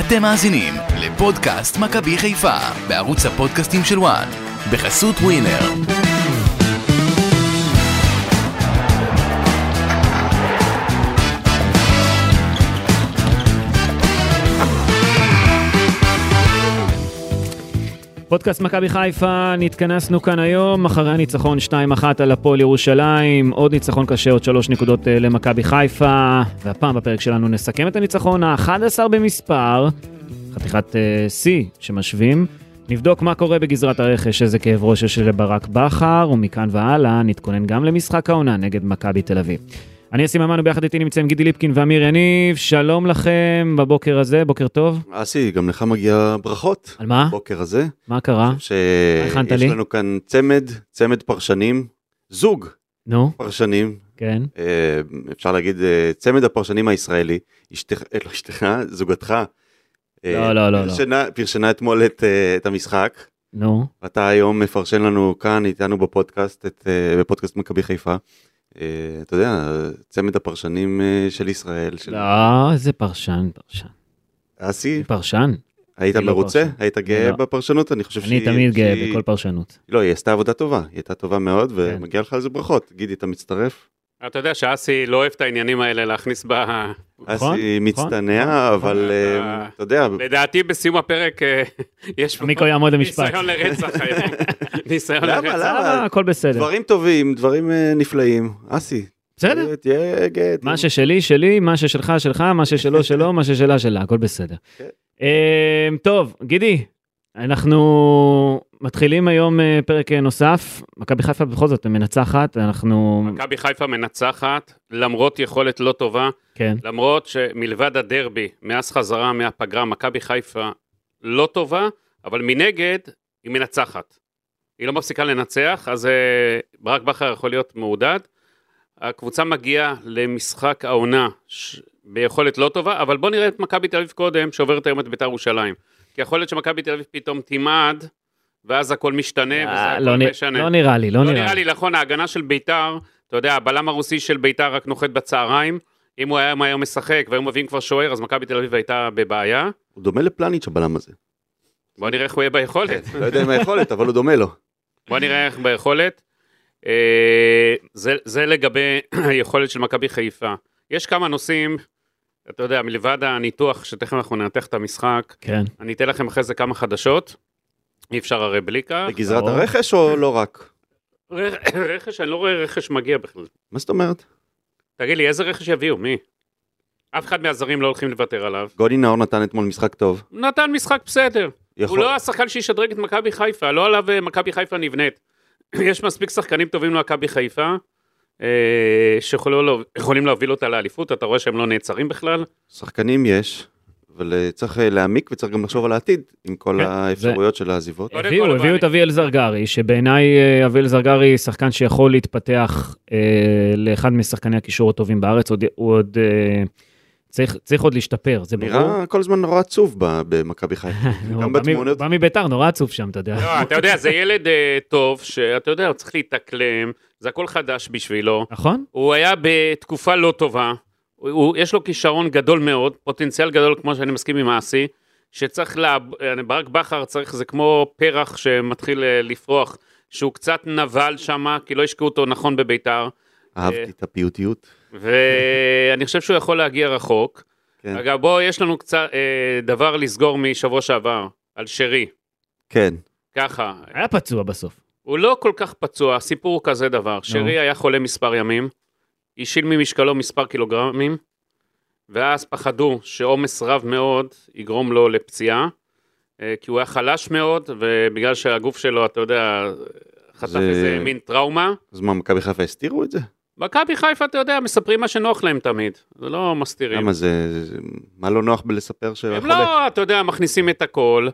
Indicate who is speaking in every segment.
Speaker 1: אתם מאזינים לפודקאסט מכבי חיפה בערוץ הפודקאסטים של וואן בחסות ווינר.
Speaker 2: פודקאסט מכבי חיפה, נתכנסנו כאן היום, אחרי הניצחון 2-1 על הפועל ירושלים, עוד ניצחון קשה, עוד 3 נקודות אה, למכבי חיפה, והפעם בפרק שלנו נסכם את הניצחון ה-11 במספר, חתיכת אה, שיא שמשווים. נבדוק מה קורה בגזרת הרכש, איזה כאב ראש יש לברק בכר, ומכאן והלאה נתכונן גם למשחק העונה נגד מכבי תל אביב. אני אסי ממן וביחד איתי נמצאים גידי ליפקין ואמיר יניב, שלום לכם בבוקר הזה, בוקר טוב.
Speaker 3: אסי, גם לך מגיע ברכות.
Speaker 2: על מה?
Speaker 3: בבוקר הזה,
Speaker 2: מה קרה? הכנת
Speaker 3: שיש
Speaker 2: לי?
Speaker 3: לנו כאן צמד, צמד פרשנים, זוג
Speaker 2: נו,
Speaker 3: פרשנים,
Speaker 2: כן.
Speaker 3: אה, אפשר להגיד אה, צמד הפרשנים הישראלי, אשתך, אה, לא אשתך, זוגתך, אה,
Speaker 2: לא, לא, לא, לא.
Speaker 3: פרשנה- פרשנה אתמול את, אה, את המשחק,
Speaker 2: נו,
Speaker 3: ואתה היום מפרשן לנו כאן איתנו בפודקאסט, את, אה, בפודקאסט מכבי חיפה. אה, אתה יודע, צמד הפרשנים אה, של ישראל, של
Speaker 2: לא, איזה פרשן, פרשן.
Speaker 3: אסי,
Speaker 2: פרשן?
Speaker 3: היית
Speaker 2: אני לא
Speaker 3: מרוצה?
Speaker 2: פרשן.
Speaker 3: היית גאה
Speaker 2: לא.
Speaker 3: בפרשנות? אני חושב
Speaker 2: אני
Speaker 3: שהיא...
Speaker 2: תמיד גאה
Speaker 3: שהיא-
Speaker 2: בכל פרשנות.
Speaker 3: לא, היא עשתה עבודה טובה, היא הייתה טובה
Speaker 2: כן.
Speaker 3: מאוד, ומגיע לך על זה ברכות. גידי, אתה מצטרף?
Speaker 4: אתה יודע שאסי לא אוהב את העניינים האלה להכניס ב...
Speaker 2: נכון,
Speaker 3: אסי
Speaker 2: נכון,
Speaker 3: מצטנע, אבל
Speaker 4: נכון.
Speaker 3: אה, אתה יודע,
Speaker 4: לדעתי בסיום הפרק אה, יש...
Speaker 2: מיקו יעמוד למשפט.
Speaker 4: ניסיון לרצח היום. ניסיון
Speaker 3: למה,
Speaker 4: לרצח.
Speaker 2: למה? הכל בסדר.
Speaker 3: דברים טובים, דברים אה, נפלאים. אסי,
Speaker 2: בסדר.
Speaker 3: תהיה גאה.
Speaker 2: מה ששלי, שלי, מה ששלך, שלך, מה ששלו, שלו, מה ששלה, שלה, הכל בסדר.
Speaker 3: כן.
Speaker 2: אמ, טוב, גידי, אנחנו מתחילים היום אה, פרק אה, נוסף. מכבי חיפה בכל זאת מנצחת, אנחנו...
Speaker 4: מכבי חיפה מנצחת, למרות יכולת לא טובה,
Speaker 2: כן,
Speaker 4: למרות שמלבד הדרבי, מאז חזרה מהפגרה, מכבי חיפה לא טובה, אבל מנגד, היא מנצחת. היא לא מפסיקה לנצח, אז אה, ברק בכר יכול להיות מעודד. הקבוצה מגיעה למשחק העונה ש... ביכולת לא טובה, אבל בוא נראה את מכבי תל אביב קודם, שעוברת היום את בית"ר ירושלים. כי יכול להיות שמכבי תל אביב פתאום תימד, ואז הכל משתנה, וזה
Speaker 2: אה,
Speaker 4: הכל
Speaker 2: לא נ-
Speaker 4: משנה.
Speaker 2: לא נראה לי, לא
Speaker 4: לא נראה
Speaker 2: נראה לי.
Speaker 4: לי, נכון, ההגנה של ביתר, אתה יודע, הבלם הרוסי של ביתר רק נוחת בצהריים. אם הוא היה מהר משחק והיו מביאים כבר שוער, אז מכבי תל אביב הייתה בבעיה.
Speaker 3: הוא דומה לפלניץ' הבלם הזה.
Speaker 4: בוא נראה איך הוא יהיה ביכולת.
Speaker 3: לא יודע אם היכולת, אבל הוא דומה לו.
Speaker 4: בוא נראה איך ביכולת. אה, זה, זה לגבי היכולת של מכבי חיפה. יש כמה נושאים, אתה יודע, מלבד הניתוח, שתכף אנחנו ננתח את המשחק,
Speaker 2: כן.
Speaker 4: אני אתן לכם אחרי זה כמה חדשות. אי אפשר הרי בלי כך.
Speaker 3: בגזרת
Speaker 2: ברור.
Speaker 3: הרכש או לא רק?
Speaker 4: ר- רכש, אני לא רואה רכש מגיע בכלל.
Speaker 3: מה זאת אומרת?
Speaker 4: תגיד לי, איזה רכש יביאו? מי? אף אחד מהזרים לא הולכים לוותר עליו.
Speaker 3: גוני נאור נתן אתמול משחק טוב.
Speaker 4: נתן משחק בסדר.
Speaker 3: יכול-
Speaker 4: הוא לא השחקן שישדרג את מכבי חיפה, לא עליו אה, מכבי חיפה נבנית. יש מספיק שחקנים טובים למכבי חיפה, אה, שיכולים להוב- יכולים להוביל אותה לאליפות, אתה רואה שהם לא נעצרים בכלל.
Speaker 3: שחקנים יש, אבל אה, צריך אה, להעמיק וצריך גם לחשוב על העתיד, עם כל
Speaker 2: כן,
Speaker 3: האפשרויות של העזיבות.
Speaker 4: קודם
Speaker 2: הביאו,
Speaker 4: כל,
Speaker 2: הביאו את
Speaker 4: אבל-
Speaker 2: אביאל זרגרי, שבעיניי אה, אביאל זרגרי שחקן שיכול להתפתח אה, לאחד משחקני הקישור הטובים בארץ, עוד- הוא עוד אה, צריך צריך עוד להשתפר, זה ברור.
Speaker 3: נראה כל הזמן נורא עצוב ב- במכבי חיפה.
Speaker 2: נו,
Speaker 3: גם
Speaker 2: הוא בא מ-
Speaker 3: בתמונות
Speaker 2: הוא בא מביתר, נורא עצוב שם, אתה יודע.
Speaker 4: לא, אתה יודע, זה ילד אה, טוב, שאתה יודע, הוא צריך להתאקלם, זה הכל חדש בשבילו.
Speaker 2: נכון?
Speaker 4: הוא היה בתקופה לא טובה, הוא- הוא, יש לו כישרון גדול מאוד, פוטנציאל גדול, כמו שאני מסכים עם אסי, שצריך, לה, אה, ברק בכר צריך, זה כמו פרח שמתחיל אה, לפרוח, שהוא קצת נבל שם, כי לא השקעו אותו נכון בביתר,
Speaker 3: אהבתי את הפיוטיות.
Speaker 4: ואני חושב שהוא יכול להגיע רחוק.
Speaker 3: כן.
Speaker 4: אגב, בוא, יש לנו קצת אה, דבר לסגור משבוע שעבר, על שרי,
Speaker 3: כן,
Speaker 4: ככה.
Speaker 2: היה פצוע בסוף.
Speaker 4: הוא לא כל כך פצוע, הסיפור הוא כזה דבר. שרי היה חולה מספר ימים, השיל ממשקלו מספר קילוגרמים, ואז פחדו שעומס רב מאוד יגרום לו לפציעה, אה, כי הוא היה חלש מאוד, ובגלל שהגוף שלו, אתה יודע, חטף
Speaker 3: זה-
Speaker 4: איזה מין טראומה.
Speaker 3: אז מה, מכבי חיפה הסתירו את זה?
Speaker 4: מכבי חיפה, אתה יודע, מספרים מה שנוח להם תמיד, זה לא מסתירים.
Speaker 3: למה זה, זה- מה לא נוח בלספר
Speaker 4: הם
Speaker 3: שהחולה?
Speaker 4: לא, אתה יודע, מכניסים את הכל,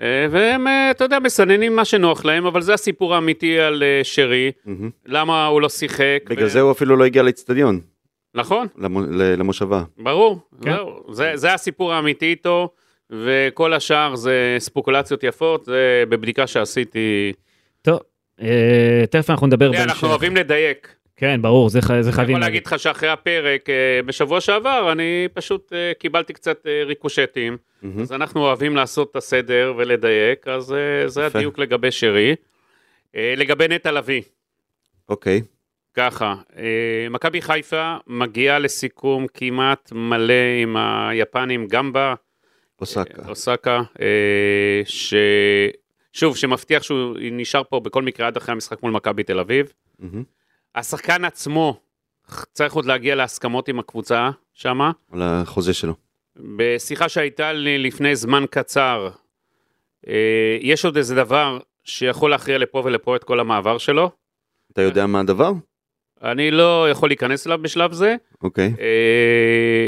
Speaker 4: אה, והם, אה, אתה יודע, מסננים מה שנוח להם, אבל זה הסיפור האמיתי על אה, שרי,
Speaker 3: מהמם.
Speaker 4: למה הוא לא שיחק.
Speaker 3: בגלל
Speaker 4: ו-
Speaker 3: זה הוא אפילו לא הגיע לאצטדיון,
Speaker 4: נכון,
Speaker 3: למו- ל- למושבה.
Speaker 4: ברור,
Speaker 2: כן.
Speaker 4: כן. זהו, זה, זה הסיפור האמיתי איתו, וכל השאר זה ספוקולציות יפות, זה בבדיקה שעשיתי.
Speaker 2: טוב, אה, תכף אנחנו נדבר
Speaker 4: תראה,
Speaker 2: בהמשך.
Speaker 4: אנחנו אוהבים לדייק,
Speaker 2: כן, ברור, זה, ח- זה
Speaker 4: אני
Speaker 2: חייבים
Speaker 4: יכול להגיד לך שאחרי הפרק, אה, בשבוע שעבר, אני פשוט אה, קיבלתי קצת אה, ריקושטים.
Speaker 3: מהמם.
Speaker 4: אז אנחנו אוהבים לעשות את הסדר ולדייק, אז אה, זה
Speaker 3: יפה.
Speaker 4: הדיוק לגבי שרי. אה, לגבי נטע לביא,
Speaker 3: אוקיי,
Speaker 4: ככה, אה, מכבי חיפה מגיעה לסיכום כמעט מלא עם היפנים, גם ב...
Speaker 3: אוסקה.
Speaker 4: אוסקה, אה, ש... שוב, שמבטיח שהוא נשאר פה בכל מקרה עד אחרי המשחק מול מכבי תל אביב.
Speaker 3: מהמם.
Speaker 4: השחקן עצמו צריך עוד להגיע להסכמות עם הקבוצה שמה.
Speaker 3: על החוזה שלו.
Speaker 4: בשיחה שהייתה לי לפני זמן קצר, אה, יש עוד איזה דבר שיכול להכריע לפה ולפה את כל המעבר שלו.
Speaker 3: אתה יודע מה הדבר?
Speaker 4: אני לא יכול להיכנס אליו בשלב זה.
Speaker 3: אוקיי.
Speaker 4: אה,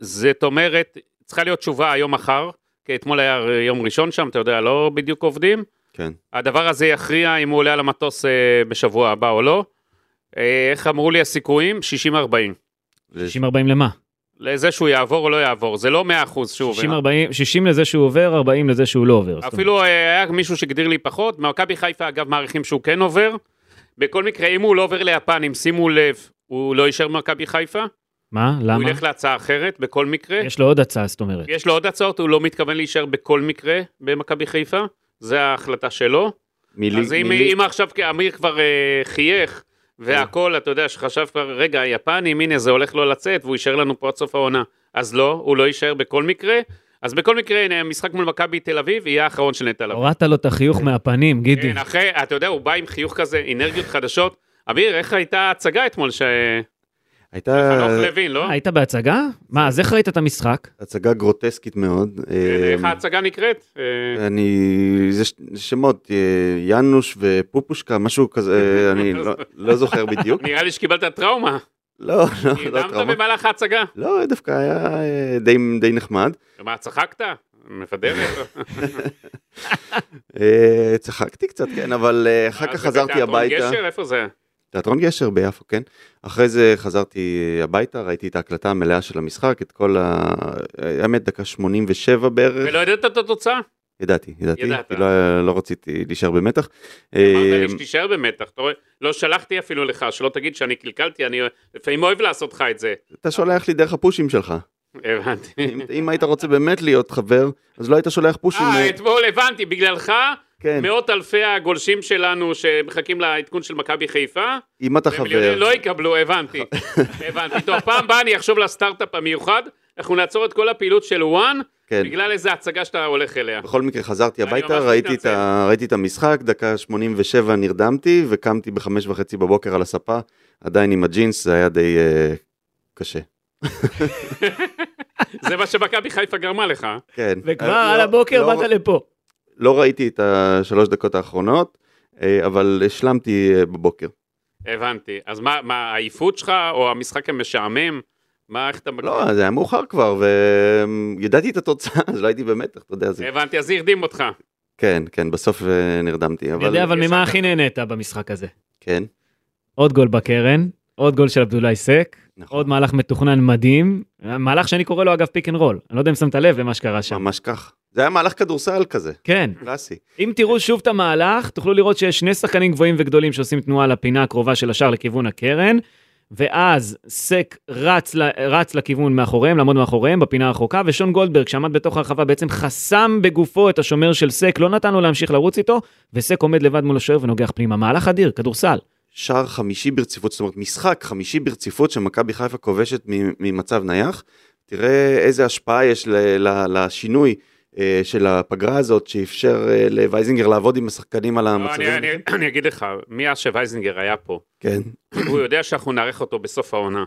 Speaker 4: זאת אומרת, צריכה להיות תשובה היום-מחר, כי אתמול היה יום ראשון שם, אתה יודע, לא בדיוק עובדים.
Speaker 3: כן.
Speaker 4: הדבר הזה יכריע אם הוא עולה על המטוס אה, בשבוע הבא או לא. אה, איך אמרו לי הסיכויים? 60-40.
Speaker 2: 60-40 למה?
Speaker 4: לזה שהוא יעבור או לא יעבור, זה לא 100% שהוא
Speaker 2: 60,
Speaker 4: עובר.
Speaker 2: 40, 60 לזה שהוא עובר, 40 לזה שהוא לא עובר. זאת אומרת,
Speaker 4: אפילו אה, היה מישהו שהגדיר לי פחות, מכבי חיפה אגב מעריכים שהוא כן עובר. בכל מקרה, אם הוא לא עובר ליפנים, שימו לב, הוא לא יישאר במכבי חיפה.
Speaker 2: מה?
Speaker 4: הוא
Speaker 2: למה?
Speaker 4: ילך להצעה אחרת, בכל מקרה.
Speaker 2: יש לו עוד הצעה, זאת אומרת.
Speaker 4: יש לו עוד הצעות, הוא לא מתכוון להישאר בכל מקרה במכבי חיפה, זה ההחלטה שלו.
Speaker 3: מילי,
Speaker 4: אז אם,
Speaker 3: מילי-
Speaker 4: אם עכשיו אמיר כבר אה, חייך, והכל, אתה יודע, שחשב כבר, רגע, היפנים, הנה, זה הולך לא לצאת, והוא יישאר לנו פה עד סוף העונה. אז לא, הוא לא יישאר בכל מקרה. אז בכל מקרה, הנה, המשחק מול מכבי תל אביב יהיה האחרון של נטע לביא.
Speaker 2: הורדת לו את החיוך מהפנים,
Speaker 3: אוקיי,
Speaker 2: גידי.
Speaker 4: כן, אחרי, אתה יודע, הוא בא עם חיוך כזה, אנרגיות חדשות. אמיר, איך הייתה ההצגה אתמול, ש-
Speaker 3: הייתה
Speaker 4: חנוך לוין, לא?
Speaker 2: אה, היית בהצגה? מה, אז איך ראית את המשחק?
Speaker 3: הצגה גרוטסקית מאוד. אה,
Speaker 4: כן, איך ההצגה נקראת? אה,
Speaker 3: אני, זה ש- שמות, אה, יאנוש ופופושקה, משהו כזה, אני לא- לא זוכר בדיוק.
Speaker 4: נראה לי שקיבלת טראומה.
Speaker 3: לא, לא, לא
Speaker 4: נרדמת
Speaker 3: טראומה.
Speaker 4: במהלך ההצגה.
Speaker 3: לא, דווקא היה אה, די, די נחמד.
Speaker 4: מה, צחקת? מבדרת?
Speaker 3: אה, צחקתי קצת, כן, אבל אה, אחר כך
Speaker 4: אז זה
Speaker 3: חזרתי
Speaker 4: בתיאטרון
Speaker 3: הביתה. אה.
Speaker 4: גשר? איפה זה?
Speaker 3: תיאטרון גשר ביפו, כן. אחרי זה חזרתי אה, הביתה, ראיתי את ההקלטה המלאה של המשחק, את כל ה... אה, האמת, דקה 87 בערך.
Speaker 4: ולא ידעת את התוצאה?
Speaker 3: ידעתי, ידעתי.
Speaker 4: ידעת.
Speaker 3: כי לא, לא רציתי להישאר במתח.
Speaker 4: אמרת לי
Speaker 3: אה,
Speaker 4: שתישאר במתח. אתה רואה? לא שלחתי אפילו לך, שלא תגיד שאני קלקלתי, אני לפעמים אוהב לעשות לך את זה.
Speaker 3: אה, אתה שולח לי דרך הפושים שלך.
Speaker 4: הבנתי.
Speaker 3: אם- אם היית רוצה באמת להיות חבר, אז לא היית שולח פושים.
Speaker 4: אה, אתמול הבנתי, בגללך,
Speaker 3: כן,
Speaker 4: מאות אלפי הגולשים שלנו שמחכים לעדכון של מכבי חיפה,
Speaker 3: אם אתה חבר.
Speaker 4: ומיליונים לא יקבלו, הבנתי. הבנתי. טוב, פעם הבאה אני אחשוב לסטארט-אפ המיוחד, אנחנו נעצור את כל הפעילות של וואן,
Speaker 3: כן.
Speaker 4: בגלל איזה הצגה שאתה הולך אליה.
Speaker 3: בכל מקרה חזרתי
Speaker 4: אני
Speaker 3: הביתה,
Speaker 4: ממש
Speaker 3: ראיתי את, ה...
Speaker 4: מתנצל.
Speaker 3: ראיתי את המשחק, דקה 87 נרדמתי וקמתי בחמש וחצי בבוקר על הספה, עדיין עם הג'ינס, זה היה די אה, קשה.
Speaker 4: זה מה שמכבי חיפה גרמה לך. אה?
Speaker 3: כן.
Speaker 2: וכבר
Speaker 3: אה,
Speaker 2: על
Speaker 3: לא-
Speaker 2: הבוקר
Speaker 3: לא-
Speaker 2: באת לפה.
Speaker 3: לא ראיתי את השלוש דקות האחרונות, אה, אבל השלמתי אה, בבוקר.
Speaker 4: הבנתי. אז מה, מה, העייפות שלך, או המשחק המשעמם? מה, איך אתה...
Speaker 3: לא, זה היה מאוחר כבר, וידעתי את התוצאה, אז לא הייתי במתח, אתה יודע, זה...
Speaker 2: אה.
Speaker 4: הבנתי, אז זה הרדים אותך.
Speaker 3: כן, כן, בסוף אה, נרדמתי,
Speaker 2: אני יודע,
Speaker 3: אבל...
Speaker 2: אבל
Speaker 4: יש
Speaker 2: ממה
Speaker 4: לך-
Speaker 2: הכי נהנית במשחק הזה?
Speaker 3: כן,
Speaker 2: עוד גול בקרן, עוד גול של עבדולאי סק, עוד
Speaker 3: נכון,
Speaker 2: מהלך מתוכנן מדהים, מהלך שאני קורא לו אגב פיק אנד רול. אני לא יודע אם שמת לב למה שקרה שם.
Speaker 3: ממש כך. זה היה מהלך כדורסל כזה,
Speaker 2: כן,
Speaker 3: קלאסי.
Speaker 2: אם תראו שוב את המהלך, תוכלו לראות שיש שני שחקנים גבוהים וגדולים שעושים תנועה לפינה הקרובה של השער לכיוון הקרן, ואז סק רץ, ל- רץ לכיוון מאחוריהם, לעמוד מאחוריהם בפינה הרחוקה, ושון גולדברג שעמד בתוך הרחבה בעצם חסם בגופו את השומר של סק, לא נתן לו להמשיך לרוץ איתו, וסק עומד לבד מול השוער ונוגח פנימה. מהלך אדיר, כדורסל.
Speaker 3: שער חמישי ברציפות, זאת אומרת משחק חמישי ברציפות שמכבי חיפה כובשת מ- ממצב נייח. תראה איזה השפעה יש ל- ל- לשינוי אה, של הפגרה הזאת שאפשר אה, לווייזינגר לעבוד עם השחקנים על
Speaker 4: לא,
Speaker 3: המצבים.
Speaker 4: אני- אני- אני אגיד לך, מאז שווייזנגר היה פה,
Speaker 3: כן,
Speaker 4: הוא יודע שאנחנו נארח אותו בסוף העונה.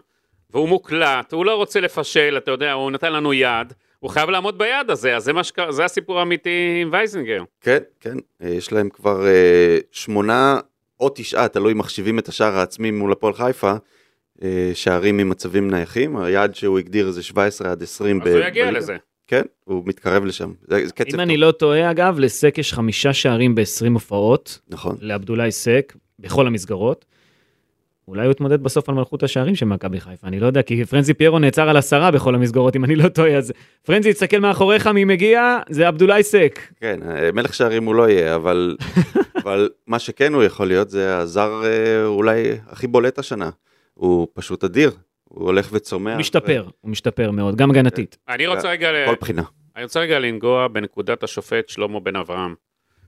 Speaker 4: והוא מוקלט, הוא לא רוצה לפשל, אתה יודע, הוא נתן לנו יד, הוא חייב לעמוד ביד הזה, אז זה, מה שקרה, זה הסיפור האמיתי עם וייזנגר.
Speaker 3: כן, כן, אה, יש להם כבר אה, שמונה או תשעה, תלוי מחשיבים את השער העצמי מול הפועל חיפה, אה, שערים ממצבים נייחים, היעד שהוא הגדיר זה 17 עד 20.
Speaker 4: אז
Speaker 3: ב-
Speaker 4: הוא יגיע
Speaker 3: בליגה.
Speaker 4: לזה.
Speaker 3: כן, הוא מתקרב לשם, זה זה קצב
Speaker 2: אם
Speaker 3: טוב,
Speaker 2: אני לא טועה, אגב, לסק יש חמישה שערים ב-20 הופעות,
Speaker 3: נכון.
Speaker 2: לעבדולאי סק, בכל המסגרות. אולי הוא יתמודד בסוף על מלכות השערים של מכבי חיפה, אני לא יודע, כי פרנזי פיירו נעצר על עשרה בכל המסגרות, אם אני לא טועה, אז פרנזי, תסתכל מאחוריך, מי מגיע? זה עבדולאי סק.
Speaker 3: כן, מלך שערים הוא לא יהיה, אבל, אבל מה שכן הוא יכול להיות זה הזר אה, אולי הכי בולט השנה. הוא פשוט אדיר, הוא הולך וצומח.
Speaker 2: משתפר, הוא משתפר מאוד, גם הגנתית.
Speaker 4: אני רוצה רגע, ל-
Speaker 3: אה, כל בחינה,
Speaker 4: אני רוצה רגע לנגוע בנקודת השופט שלמה בן אברהם.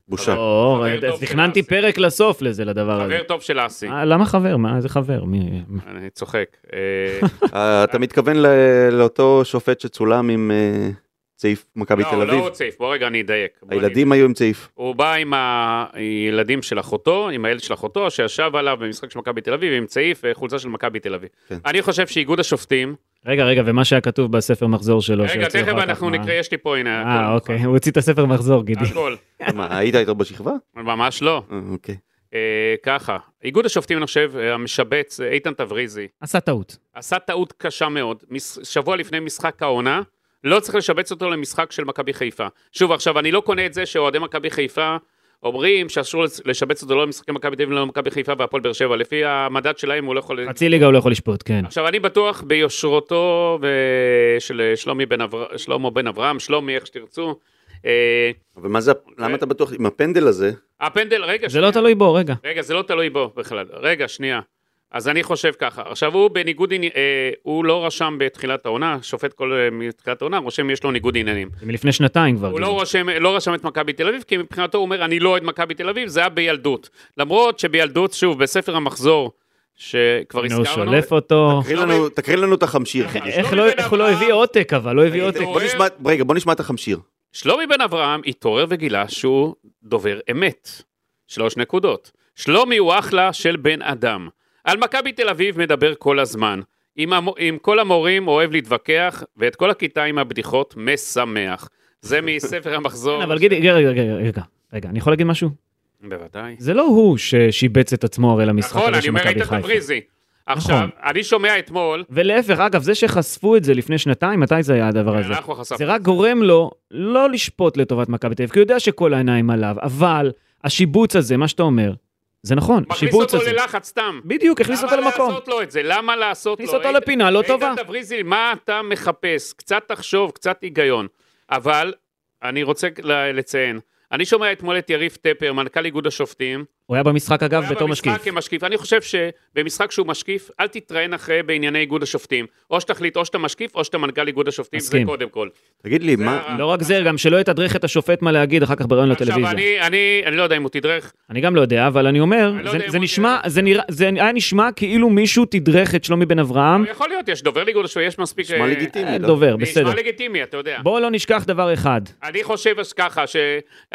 Speaker 3: בושה.
Speaker 2: או,
Speaker 4: חבר
Speaker 2: אז
Speaker 4: טוב של
Speaker 2: תכננתי
Speaker 4: אסי.
Speaker 2: פרק לסוף לזה, לדבר הזה.
Speaker 4: חבר טוב של אסי.
Speaker 2: אה, למה חבר? מה, איזה חבר? מי...
Speaker 4: אני צוחק. אה,
Speaker 3: אה, אתה מתכוון ל- לאותו שופט שצולם עם אה, צעיף מכבי תל
Speaker 4: לא, לא
Speaker 3: אביב?
Speaker 4: הוא צעיף, בוא רגע אני אדייק. בוא אני
Speaker 3: הילדים היו עם צעיף.
Speaker 4: הוא בא עם הילדים של אחותו, עם הילד של אחותו, שישב עליו במשחק של מכבי תל אביב, עם צעיף וחולצה של מכבי תל אביב.
Speaker 3: כן.
Speaker 4: אני חושב שאיגוד השופטים,
Speaker 2: רגע, רגע, ומה שהיה כתוב בספר מחזור שלו,
Speaker 4: רגע,
Speaker 2: לא, שיוציא
Speaker 4: תכף
Speaker 2: אחר כך,
Speaker 4: אנחנו
Speaker 2: מה?
Speaker 4: נקרא, יש לי פה, הנה,
Speaker 2: אה,
Speaker 4: הכל.
Speaker 2: אוקיי, הוא הוציא את הספר מחזור, גידי.
Speaker 4: הכל.
Speaker 3: מה, היית איתו בשכבה?
Speaker 4: ממש לא.
Speaker 3: אה, אוקיי.
Speaker 4: אה, ככה, איגוד השופטים, אני חושב, אה, המשבץ, אה, איתן תבריזי,
Speaker 2: עשה טעות.
Speaker 4: עשה טעות קשה מאוד, מש- שבוע לפני משחק העונה, לא צריך לשבץ אותו למשחק של מכבי חיפה. שוב, עכשיו, אני לא קונה את זה שאוהדי מכבי חיפה אומרים שאסור לש- לשבץ אותו לא למשחקי מכבי תל אביב, לא למכבי חיפה והפועל באר שבע. לפי המדד שלהם הוא לא יכול...
Speaker 2: חצי ליגה הוא לא יכול לשפוט, כן.
Speaker 4: עכשיו, אני בטוח ביושרותו ו- של שלומי בן אבר... שלמה בן אברהם, שלומי, איך שתרצו. אה,
Speaker 3: אבל מה זה, למה אתה בטוח, עם הפנדל הזה,
Speaker 4: הפנדל, רגע,
Speaker 2: זה לא תלוי בו, רגע.
Speaker 4: רגע, זה לא תלוי בו בכלל. רגע, שנייה. אז אני חושב ככה. עכשיו, הוא בניגוד עניינים, אה, הוא לא רשם בתחילת העונה, שופט כל אה, מתחילת העונה, רושם יש לו ניגוד עניינים.
Speaker 2: זה מלפני שנתיים כבר.
Speaker 4: הוא
Speaker 2: גידי.
Speaker 4: לא רשם, לא רשם את מכבי תל אביב, כי מבחינתו הוא אומר, אני לא אוהד מכבי תל אביב, זה היה בילדות. למרות שבילדות, שוב, בספר המחזור, שכבר
Speaker 2: הנה, הוא
Speaker 4: הזכרנו,
Speaker 2: שולף אותו.
Speaker 3: תקריא לנו- תקריא לנו את החמשיר.
Speaker 4: איך-
Speaker 3: חידי.
Speaker 2: איך
Speaker 4: שלומי
Speaker 2: לא-
Speaker 4: בן
Speaker 2: איך הוא לא
Speaker 4: אברהם.
Speaker 2: הביא עותק, אבל לא הביא עותק.
Speaker 3: בוא נשמע, רגע, בוא נשמע את החמשיר.
Speaker 4: שלומי בן אברהם התעורר וגילה שהוא דובר אמת. שלוש נקודות. שלומי הוא אחלה של בן אדם. על מכבי תל אביב מדבר כל הזמן. עם, המ... עם כל המורים אוהב להתווכח, ואת כל הכיתה עם הבדיחות משמח. זה מספר המחזור.
Speaker 2: כן, אבל גידי, רגע, רגע, רגע, רגע. רגע, אני יכול להגיד משהו?
Speaker 4: בוודאי.
Speaker 2: זה לא הוא ששיבץ את עצמו הרי למשחק
Speaker 4: נכון,
Speaker 2: הזה
Speaker 4: אני
Speaker 2: של
Speaker 4: אומר
Speaker 2: מכבי
Speaker 4: איתן
Speaker 2: חיפה. נכון.
Speaker 4: תבריזי. עכשיו, אני שומע אתמול,
Speaker 2: ולהפך, אגב, זה שחשפו את זה לפני שנתיים, מתי זה היה הדבר הזה?
Speaker 4: אנחנו חשפנו.
Speaker 2: זה רק גורם לו לא לשפוט לטובת מכבי תל אביב, כי הוא יודע שכל העיניים עליו, אבל השיבוץ הזה, מה שאתה אומר, זה נכון,
Speaker 4: מכניס
Speaker 2: השיבוץ
Speaker 4: אותו
Speaker 2: הזה.
Speaker 4: ללחץ סתם.
Speaker 2: בדיוק, הכניס אותו
Speaker 4: למה
Speaker 2: למקום.
Speaker 4: לעשות לו את זה? למה לעשות לו?
Speaker 2: הכניס אותו
Speaker 4: איתן-
Speaker 2: לפינה לא טובה.
Speaker 4: איתן תבריזי, מה אתה מחפש? קצת תחשוב, קצת היגיון. אבל אני רוצה ל- לציין, אני שומע אתמול את יריב טפר, מנכ"ל איגוד השופטים.
Speaker 2: הוא היה במשחק, אגב,
Speaker 4: הוא היה
Speaker 2: בתור
Speaker 4: במשחק
Speaker 2: משקיף.
Speaker 4: כמשקיף. אני חושב שבמשחק שהוא משקיף, אל תתראיין אחרי בענייני איגוד השופטים. או שתחליט, או שאתה משקיף, או שאתה מנכ"ל איגוד השופטים, זה
Speaker 2: מסכים.
Speaker 4: קודם כל.
Speaker 3: תגיד לי,
Speaker 4: זה
Speaker 3: מה,
Speaker 4: הרע.
Speaker 2: לא רק זה, גם שלא יתדרך את השופט מה להגיד אחר כך בראיון
Speaker 4: עכשיו,
Speaker 2: לטלוויזיה.
Speaker 4: אני, אני, אני לא יודע אם הוא תדרך,
Speaker 2: אני גם לא יודע, אבל אני אומר,
Speaker 4: אני לא
Speaker 2: זה-
Speaker 4: יודע אם
Speaker 2: זה
Speaker 4: הוא
Speaker 2: נשמע,
Speaker 4: יודע.
Speaker 2: זה נראה- זה היה נשמע כאילו מישהו תדרך את שלומי בן אברהם,
Speaker 4: יכול להיות, יש דובר לאיגוד השופטים, יש מספיק...
Speaker 3: נשמע
Speaker 4: אה,
Speaker 3: לגיטימי. לא?
Speaker 2: אה,
Speaker 3: אתה-
Speaker 2: דובר, בסדר.
Speaker 4: נשמע לגיטימי, אתה יודע.
Speaker 2: בואו לא נשכח דבר אחד,
Speaker 4: אני חושב אז ככה,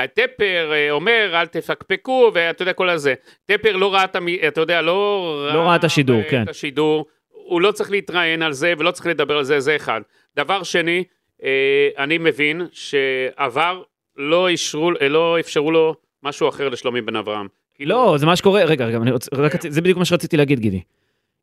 Speaker 4: שטפר אה, אומר, אל תפקפקו, ואתה יודע, כל הזה. טפר לא ראה את המ... אתה יודע, לא...
Speaker 2: לא ראה את השידור,
Speaker 4: אה,
Speaker 2: כן.
Speaker 4: את השידור. הוא לא צריך להתראיין על זה, ולא צריך לדבר על זה, זה אחד. דבר שני, אה, אני מבין שעבר, לא, אישרו, אה, לא אפשרו לו משהו אחר לשלומי בן אברהם. כאילו,
Speaker 2: לא, זה מה שקורה, רגע, רגע, אני רוצה, רק, רצ- זה בדיוק מה שרציתי להגיד, גידי.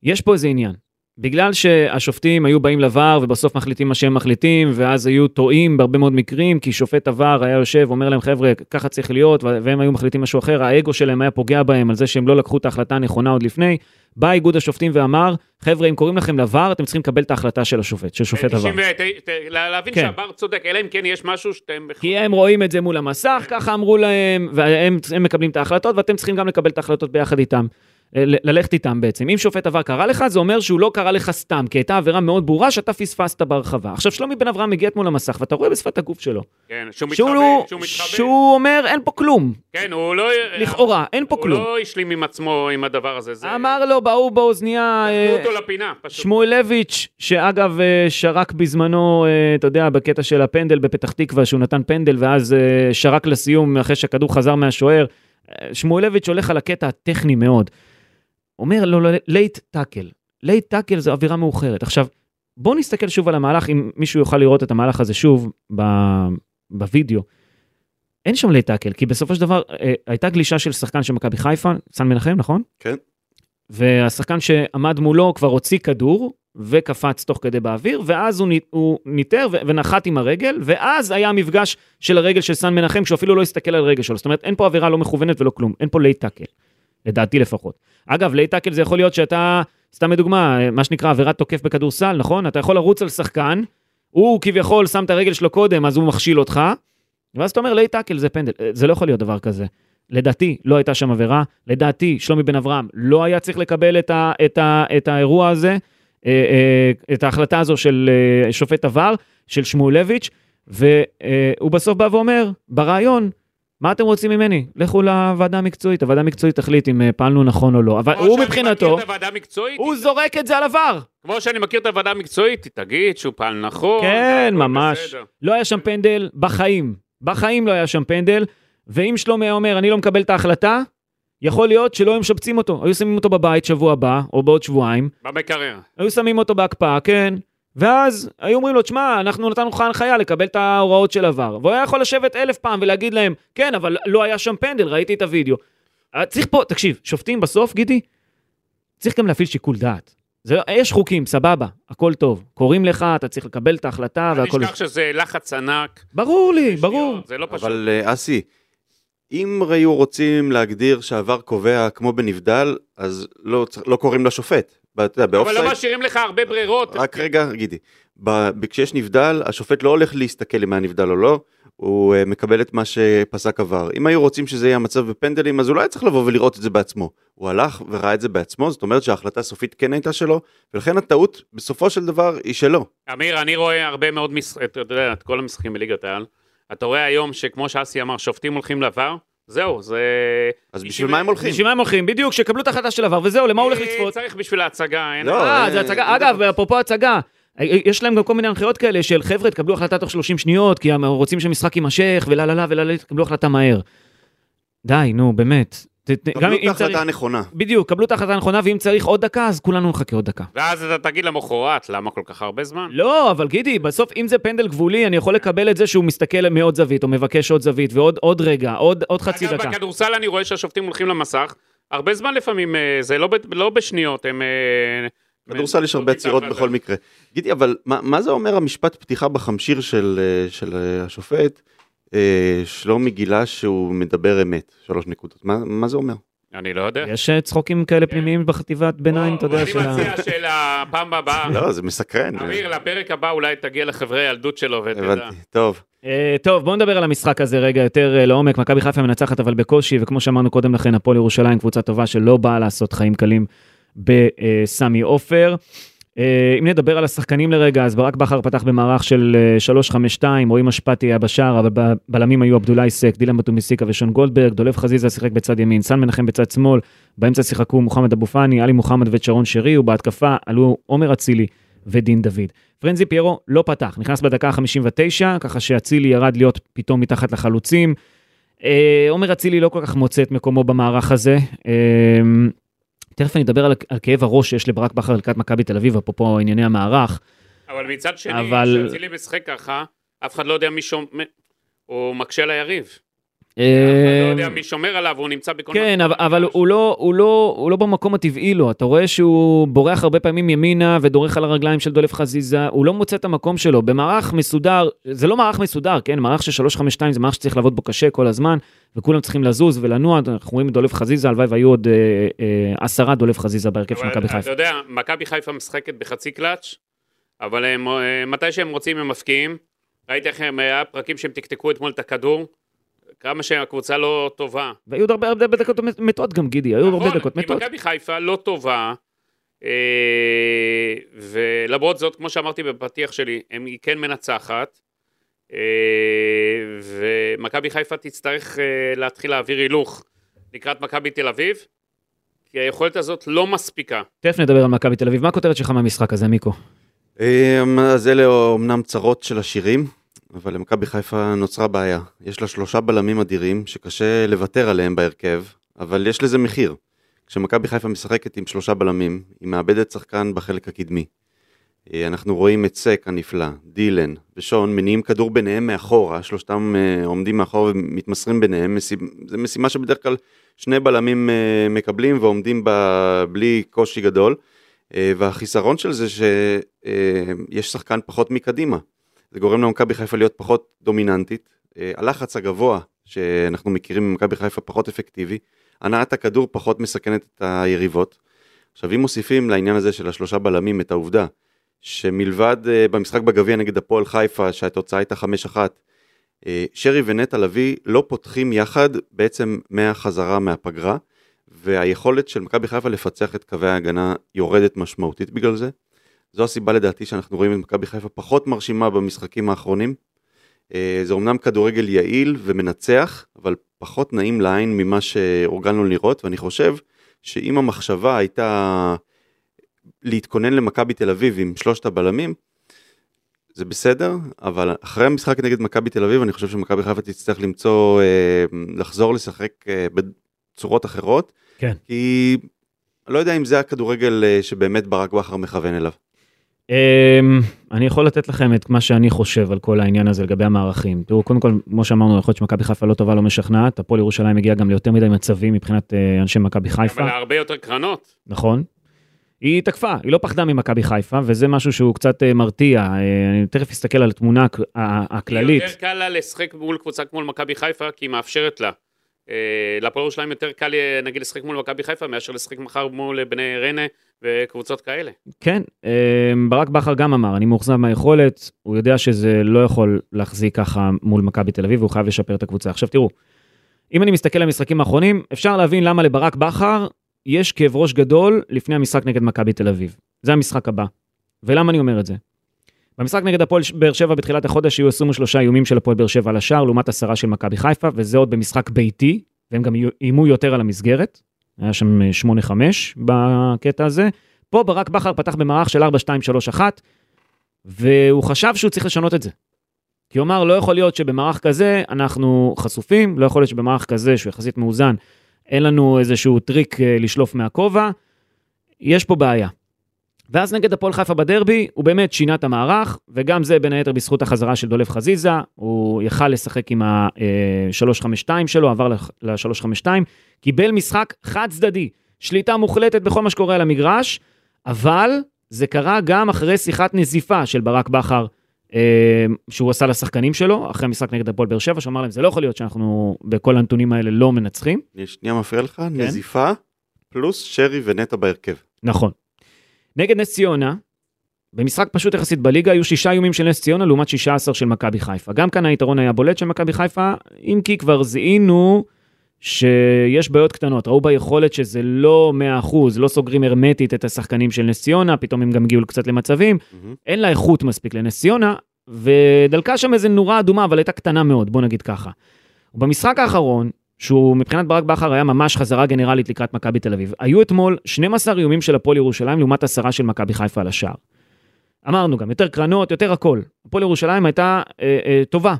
Speaker 2: יש פה איזה עניין. בגלל שהשופטים היו באים לVAR ובסוף מחליטים מה שהם מחליטים, ואז היו טועים בהרבה מאוד מקרים, כי שופט עבר היה יושב, אומר להם, חבר'ה, ככה צריך להיות, ו- והם היו מחליטים משהו אחר, האגו שלהם היה פוגע בהם על זה שהם לא לקחו את ההחלטה הנכונה עוד לפני. בא איגוד השופטים ואמר, חבר'ה, אם קוראים לכם לVAR, אתם צריכים לקבל את ההחלטה של השופט, של שופט עבר.
Speaker 4: 99, אה, ת- לה- להבין
Speaker 2: כן.
Speaker 4: שהבר צודק, אלא אם כן יש משהו שאתם...
Speaker 2: כי הם רואים את זה מול המסך, ככה אמרו להם, והם הם מקבלים את ההחלטות, ואתם צריכים גם לקבל את ההחלטות ביחד איתם. אה, ל- ללכת איתם בעצם. אם שופט עבר קרא לך, זה אומר שהוא לא קרא לך סתם, כי הייתה עבירה מאוד ברורה שאתה פספסת בהרחבה. עכשיו, שלומי בן אברהם מגיע אתמול למסך, ואתה רואה בשפת הגוף שלו.
Speaker 4: כן, שהוא מתחבא,
Speaker 2: שהוא, לא-
Speaker 4: שהוא מתחבא.
Speaker 2: שהוא אומר, אין פה כלום,
Speaker 4: כן, הוא לא...
Speaker 2: לכאורה, אין פה
Speaker 4: הוא
Speaker 2: כלום.
Speaker 4: לא השלים עם עצמו עם הדבר הזה. זה... לא
Speaker 2: אמר לו בהוא באוזנייה,
Speaker 4: דחפו
Speaker 2: אה,
Speaker 4: אותו לפינה, פשוט.
Speaker 2: שמואלביץ', שאגב אה, שרק בזמנו, אה, אתה יודע, בקטע של הפנדל בפתח תקווה, שהוא נתן פנדל ואז אה, שרק לסיום אחרי שהכדור חזר מהשוער, אה, שמואלביץ' הולך על הקטע הטכני מאוד. אומר לו לייט טאקל, לייט טאקל זו אווירה מאוחרת. עכשיו, בואו נסתכל שוב על המהלך, אם מישהו יוכל לראות את המהלך הזה שוב ב- בווידאו. אין שם לייט טאקל, כי בסופו של דבר אה, הייתה גלישה של שחקן של מכבי חיפה, סן מנחם, נכון?
Speaker 3: כן.
Speaker 2: והשחקן שעמד מולו כבר הוציא כדור וקפץ תוך כדי באוויר, ואז הוא, נ- הוא ניטר ו- ונחת עם הרגל, ואז היה המפגש של הרגל של סן מנחם, שהוא אפילו לא הסתכל על הרגל שלו. זאת אומרת, אין פה עבירה לא מכוונת ולא כלום, אין פה לייט טאקל. לדעתי לפחות. אגב, לייטאקל זה יכול להיות שאתה, סתם לדוגמה, מה שנקרא עבירת תוקף בכדורסל, נכון? אתה יכול לרוץ על שחקן, הוא כביכול שם את הרגל שלו קודם, אז הוא מכשיל אותך, ואז אתה אומר לייטאקל זה פנדל, אה, זה לא יכול להיות דבר כזה. לדעתי, לא הייתה שם עבירה. לדעתי, שלומי בן אברהם לא היה צריך לקבל את, ה, את, ה, את האירוע הזה, אה, אה, את ההחלטה הזו של אה, שופט עבר, של שמואלביץ', והוא בסוף בא ואומר, בריאיון, מה אתם רוצים ממני? לכו לוועדה המקצועית, הוועדה המקצועית תחליט אם אה, פעלנו נכון או לא. אבל
Speaker 4: כמו
Speaker 2: הוא
Speaker 4: שאני
Speaker 2: מבחינתו,
Speaker 4: מכיר את הוועדה המקצועית,
Speaker 2: הוא זורק את זה על עבר.
Speaker 4: כמו שאני מכיר את הוועדה המקצועית, תגיד שהוא פעל נכון.
Speaker 2: כן,
Speaker 4: הכל
Speaker 2: ממש.
Speaker 4: בסדר.
Speaker 2: לא היה שם פנדל בחיים. בחיים לא היה שם פנדל, ואם שלומי היה אומר, אני לא מקבל את ההחלטה, יכול להיות שלא היו משפצים אותו. היו שמים אותו בבית שבוע הבא, או בעוד שבועיים,
Speaker 4: במקרר.
Speaker 2: היו שמים אותו בהקפאה, כן. ואז היו אומרים לו, תשמע, אנחנו נתנו לך הנחיה לקבל את ההוראות של עבר. והוא היה יכול לשבת אלף פעם ולהגיד להם, כן, אבל לא היה שם פנדל, ראיתי את הוידאו. אה, צריך פה, תקשיב, שופטים בסוף, גידי, צריך גם להפעיל שיקול דעת. זה, לא- יש חוקים, סבבה, הכל טוב. קוראים לך, אתה צריך לקבל את ההחלטה
Speaker 4: אל
Speaker 2: אה, והכל...
Speaker 4: תשכח שזה לחץ ענק.
Speaker 2: ברור לי, ברור.
Speaker 4: זה לא פשוט.
Speaker 3: אבל אה, אסי, אם היו רוצים להגדיר שעבר קובע כמו בנבדל, אז לא, צר- לא קוראים לשופט. ב- אתה יודע,
Speaker 4: אבל לא
Speaker 3: באופסייד,
Speaker 4: משאירים לך הרבה ברירות.
Speaker 3: רק רגע, גידי. ב- ב- כשיש נבדל, השופט לא הולך להסתכל אם היה נבדל או לא, הוא אה, מקבל את מה שפסק עבר. אם היו רוצים שזה יהיה המצב בפנדלים, אז הוא לא היה צריך לבוא ולראות את זה בעצמו. הוא הלך וראה את זה בעצמו, זאת אומרת שההחלטה הסופית כן הייתה שלו, ולכן הטעות בסופו של דבר היא שלו.
Speaker 4: אמיר, אני רואה הרבה מאוד, מש- אתה יודע, את כל המשחקים בליגת העל. אתה רואה היום שכמו שאסי אמר, שופטים הולכים לעבר, זהו, זה...
Speaker 3: אז בשביל מה הם הולכים?
Speaker 2: בשביל מה הם הולכים? בדיוק, שקבלו את ההחלטה של עבר, וזהו, למה הוא הולך
Speaker 4: אה,
Speaker 2: לצפות?
Speaker 4: צריך בשביל ההצגה, אין...
Speaker 3: לא,
Speaker 2: אה,
Speaker 3: אה,
Speaker 2: זה הצגה.
Speaker 3: אה,
Speaker 2: אגב, אפרופו הצגה, אה, אה, יש להם גם כל מיני הנחיות כאלה של חבר'ה, תקבלו החלטה תוך 30 שניות, כי הם רוצים שהמשחק יימשך, ולה לה לה ולה לה, תקבלו החלטה מהר. די, נו, באמת. ת- ת- גם
Speaker 3: קבלו
Speaker 2: אם
Speaker 3: את
Speaker 2: צריך...
Speaker 3: ההחלטה הנכונה.
Speaker 2: בדיוק, קבלו את ההחלטה הנכונה, ואם צריך עוד דקה, אז כולנו נחכה עוד דקה.
Speaker 4: ואז אתה תגיד למחרת, למה כל כך הרבה זמן?
Speaker 2: לא, אבל גידי, בסוף אם זה פנדל גבולי, אני יכול לקבל את זה שהוא מסתכל מעוד זווית, או מבקש עוד זווית, ועוד עוד רגע, עוד עוד חצי
Speaker 4: אגב,
Speaker 2: דקה.
Speaker 4: בכדורסל אני רואה שהשופטים הולכים למסך, הרבה זמן לפעמים, אה, זה לא ב- לא בשניות, הם... אה,
Speaker 3: בכדורסל יש הרבה עצירות בכל מקרה. גידי, אבל מה, מה זה אומר המשפט פתיחה בחמשיר של, אה, של אה, השופט? אה, שלומי גילה שהוא מדבר אמת, שלוש נקודות. מה, מה זה אומר?
Speaker 4: אני לא יודע.
Speaker 2: יש אה, צחוקים
Speaker 3: כן.
Speaker 2: כאלה פנימיים בחטיבת ביניים, אתה יודע, של
Speaker 4: אני
Speaker 2: ה...
Speaker 4: מציע שלפעם הבאה,
Speaker 3: לא, זה מסקרן.
Speaker 4: אה. אמיר, לפרק הבא אולי תגיע לחברי הילדות שלו ותדע.
Speaker 3: הבנתי, טוב.
Speaker 2: אה, טוב, בואו נדבר על המשחק הזה רגע יותר אה, לעומק. מכבי חיפה מנצחת אבל בקושי, וכמו שאמרנו קודם לכן, הפועל ירושלים קבוצה טובה שלא באה לעשות חיים קלים בסמי עופר. אה, אם נדבר על השחקנים לרגע, אז ברק בכר פתח במערך של אה, 3-5-2, רועי משפטי היה בשער, אבל ב- בלמים היו עבדולאי סק, דילן בטומיסיקה ושון גולדברג, דולב חזיזה שיחק בצד ימין, סן מנחם בצד שמאל, באמצע שיחקו מוחמד אבו פאני, עלי מוחמד ושרון שרי, ובהתקפה עלו עומר אצילי ודין דוד. פרנזי פיירו לא פתח, נכנס בדקה ה-59, ככה שאצילי ירד להיות פתאום מתחת לחלוצים. אה, עומר אצילי לא כל כך מוצא את מקומו במערך הזה. אה, תכף אני אדבר על, על כאב הראש שיש לברק בכר לקראת מכבי תל אביב, אפרופו ענייני המערך.
Speaker 4: אבל מצד שני,
Speaker 2: אבל-
Speaker 4: כשאצילי משחק ככה, אף אחד לא יודע מי שומר, הוא מקשה ליריב. אף אחד לא
Speaker 2: אה,
Speaker 4: יודע מי שומר עליו, הוא נמצא בכל...
Speaker 2: כן,
Speaker 4: מקום.
Speaker 2: אבל, אבל הוא, לא, הוא, לא, הוא לא במקום הטבעי לו. אתה רואה שהוא בורח הרבה פעמים ימינה ודורך על הרגליים של דולף חזיזה, הוא לא מוצא את המקום שלו. במערך מסודר, זה לא מערך מסודר, כן? מערך של 352 זה מערך שצריך לעבוד בו קשה כל הזמן, וכולם צריכים לזוז ולנוע. אנחנו רואים את דולף חזיזה, הלוואי והיו עוד אה, אה, עשרה דולף חזיזה בהרכב של
Speaker 4: אבל
Speaker 2: מכבי חיפה.
Speaker 4: אתה יודע, מכבי חיפה משחקת בחצי קלאץ', אבל הם, אה, מתי שהם רוצים הם מפקיעים. ראיתי איך הם, היה פרקים שהם תקתקו אתמול את הכדור. כמה שהקבוצה לא טובה.
Speaker 2: והיו עוד הרבה, הרבה דקות מתות גם, גידי, היו הרבה
Speaker 4: נכון,
Speaker 2: דקות
Speaker 4: כי
Speaker 2: מתות.
Speaker 4: מכבי חיפה לא טובה, אה, ולמרות זאת, כמו שאמרתי בפתיח שלי, הם- היא כן מנצחת, אה, ומכבי חיפה תצטרך אה, להתחיל להעביר הילוך לקראת מכבי תל אביב, כי היכולת הזאת לא מספיקה.
Speaker 2: תכף נדבר על מכבי תל אביב. מה הכותרת שלך מהמשחק הזה, מיקו?
Speaker 3: אמ, אז אלה אומנם צרות של השירים, אבל למכבי חיפה נוצרה בעיה. יש לה שלושה בלמים אדירים שקשה לוותר עליהם בהרכב, אבל יש לזה מחיר. כשמכבי חיפה משחקת עם שלושה בלמים, היא מאבדת שחקן בחלק הקדמי. אה, אנחנו רואים את סק הנפלא, דילן ושון מניעים כדור ביניהם מאחורה, שלושתם אה, עומדים מאחור ומתמסרים ביניהם, משימ... זו משימה שבדרך כלל שני בלמים אה, מקבלים ועומדים בה בלי קושי גדול. אה, והחיסרון של זה שיש שחקן פחות מקדימה. זה גורם למכבי חיפה להיות פחות דומיננטית. אה, הלחץ הגבוה שאנחנו מכירים ממכבי חיפה פחות אפקטיבי. הנעת הכדור פחות מסכנת את היריבות. עכשיו, אם מוסיפים לעניין הזה של השלושה בלמים את העובדה שמלבד אה, במשחק בגביע נגד הפועל חיפה, שהתוצאה הייתה 5-1, אה, שרי ונטע לביא לא פותחים יחד בעצם מהחזרה מהפגרה, והיכולת של מכבי חיפה לפצח את קווי ההגנה יורדת משמעותית בגלל זה. זו הסיבה לדעתי שאנחנו רואים את מכבי חיפה פחות מרשימה במשחקים האחרונים. אה, זה אומנם כדורגל יעיל ומנצח, אבל פחות נעים לעין ממה שהורגלנו לראות, ואני חושב שאם המחשבה הייתה להתכונן למכבי תל אביב עם שלושת הבלמים, זה בסדר, אבל אחרי המשחק נגד מכבי תל אביב, אני חושב שמכבי חיפה תצטרך למצוא, אה, לחזור לשחק אה, בצורות אחרות.
Speaker 2: כן.
Speaker 3: כי אני לא יודע אם זה הכדורגל אה, שבאמת ברק בכר מכוון אליו.
Speaker 2: אמ, אני יכול לתת לכם את מה שאני חושב על כל העניין הזה לגבי המערכים. תראו, קודם כל, כמו שאמרנו, יכול להיות שמכבי חיפה לא טובה, לא משכנעת. הפועל ירושלים הגיעה גם ליותר מדי מצבים מבחינת אה, אנשי מכבי חיפה,
Speaker 4: אבל הרבה יותר קרנות.
Speaker 2: נכון? היא תקפה, היא לא פחדה ממכבי חיפה, וזה משהו שהוא קצת אה, מרתיע. אה, אני תכף אסתכל על התמונה הכ- ה- הכללית.
Speaker 4: יותר קל לה לשחק מול קבוצה כמו מכבי חיפה, כי היא מאפשרת לה. אה, להפועל ירושלים יותר קל, אה, נגיד, לשחק מול מכבי חיפה, מאשר לשחק מחר מול בני ריינה וקבוצות כאלה.
Speaker 2: כן, אה, ברק בכר גם אמר, אני מאוכזב מהיכולת, הוא יודע שזה לא יכול להחזיק ככה מול מכבי תל אביב, והוא חייב לשפר את הקבוצה. עכשיו תראו, אם אני מסתכל על המשחקים האחרונים, אפשר להבין למה לברק בכר יש כאב ראש גדול לפני המשחק נגד מכבי תל אביב. זה המשחק הבא. ולמה אני אומר את זה? במשחק נגד הפועל ש- באר שבע בתחילת החודש היו 23 איומים של הפועל באר שבע על השער, לעומת עשרה של מכבי חיפה, וזה עוד במשחק ביתי, והם גם איימו יותר על המסגרת. היה שם אה, 8-5 בקטע הזה. פה ברק בכר פתח במערך של 4-2-3-1, והוא חשב שהוא צריך לשנות את זה. כי הוא אמר, לא יכול להיות שבמערך כזה אנחנו חשופים, לא יכול להיות שבמערך כזה, שהוא יחסית מאוזן, אין לנו איזשהו טריק אה, לשלוף מהכובע, יש פה בעיה. ואז נגד הפועל חיפה בדרבי, הוא באמת שינה את המערך, וגם זה בין היתר בזכות החזרה של דולף חזיזה, הוא יכל לשחק עם אה, ה-352 שלו, עבר ל-352, קיבל משחק חד צדדי, שליטה מוחלטת בכל מה שקורה על המגרש, אבל זה קרה גם אחרי שיחת נזיפה של ברק בכר, אה, שהוא עשה לשחקנים שלו, אחרי המשחק נגד הפועל באר שבע, שאמר להם, זה לא יכול להיות שאנחנו בכל הנתונים האלה לא מנצחים.
Speaker 3: אני שנייה מפריע לך, נזיפה פלוס שרי ונטע בהרכב.
Speaker 2: נכון. נגד נס ציונה, במשחק פשוט יחסית בליגה, היו שישה איומים של נס ציונה לעומת 16 של מכבי חיפה. גם כאן היתרון היה בולט של מכבי חיפה, אם כי כבר זיהינו שיש בעיות קטנות. ראו ביכולת שזה לא 100%, לא סוגרים הרמטית את השחקנים של נס ציונה, פתאום הם גם הגיעו קצת למצבים.
Speaker 3: מהמם.
Speaker 2: אין לה איכות מספיק לנס ציונה, ודלקה שם איזה נורה אדומה, אבל הייתה קטנה מאוד, בוא נגיד ככה. במשחק האחרון, שהוא מבחינת ברק בכר היה ממש חזרה גנרלית לקראת מכבי תל אביב, היו אתמול 12 איומים של הפועל ירושלים לעומת עשרה של מכבי חיפה על השער. אמרנו גם, יותר קרנות, יותר הכל. הפועל ירושלים הייתה אה, אה, טובה,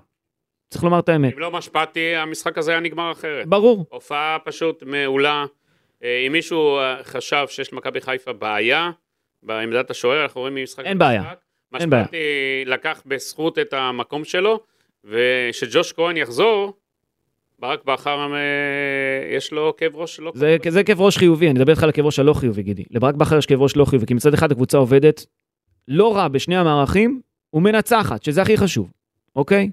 Speaker 2: צריך לומר את האמת.
Speaker 4: אם לא משפעתי, המשחק הזה היה נגמר אחרת.
Speaker 2: ברור.
Speaker 4: הופעה פשוט מעולה. אה, אם מישהו אה, חשב שיש למכבי חיפה בעיה בעמדת השוער, אנחנו רואים ממשחק...
Speaker 2: אין בעיה.
Speaker 4: למשחק.
Speaker 2: אין בעיה.
Speaker 4: משפטי לקח בזכות את המקום שלו, וכשג'וש כהן יחזור, ברק בכר, אה, יש לו כאב ראש לא
Speaker 2: זה, זה כאב ראש חיובי, אני אדבר איתך על הכאב ראש הלא חיובי, גידי. לברק בכר יש כאב ראש לא חיובי, כי מצד אחד הקבוצה עובדת לא רע בשני המערכים, ומנצחת, שזה הכי חשוב, אוקיי?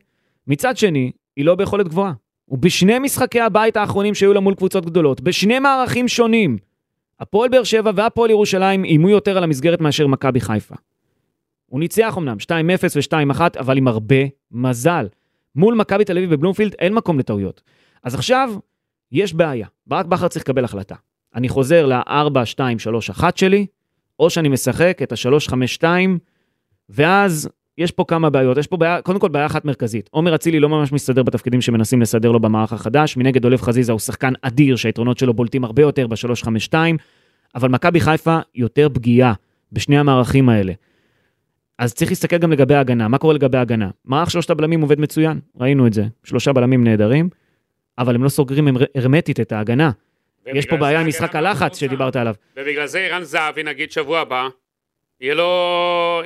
Speaker 2: מצד שני, היא לא ביכולת גבוהה. ובשני משחקי הבית האחרונים שהיו לה מול קבוצות גדולות, בשני מערכים שונים, הפועל באר שבע והפועל ירושלים איימו יותר על המסגרת מאשר מכבי חיפה. הוא ניצח אמנם 2-0 ו-2-1, אבל עם הרבה מזל. מול מכבי תל אביב בבלומפילד אין מקום לטעויות. אז עכשיו, יש בעיה. ברק בכר צריך לקבל החלטה. אני חוזר ל-4, 2, 3, 1 שלי, או שאני משחק את ה-3, 5, 2, ואז יש פה כמה בעיות. יש פה בעיה, קודם כל בעיה אחת מרכזית. עומר אצילי לא ממש מסתדר בתפקידים שמנסים לסדר לו במערך החדש. מנגד דולף חזיזה הוא שחקן אדיר שהיתרונות שלו בולטים הרבה יותר ב-3, 5, 2, אבל מכבי חיפה יותר פגיעה בשני המערכים האלה. אז צריך להסתכל גם לגבי ההגנה. מה קורה לגבי ההגנה? מערך שלושת הבלמים עובד מצוין, ראינו את זה. שלושה בלמים נהדרים, אבל הם לא סוגרים הר- הרמטית את ההגנה.
Speaker 4: ובגלל
Speaker 2: יש פה
Speaker 4: כן, זה
Speaker 2: בעיה עם
Speaker 4: ההגנה
Speaker 2: משחק
Speaker 4: מאוד
Speaker 2: הלחץ
Speaker 4: רוצה.
Speaker 2: שדיברת עליו.
Speaker 4: ובגלל זה ערן זהבי, נגיד שבוע הבא, יהיה לו,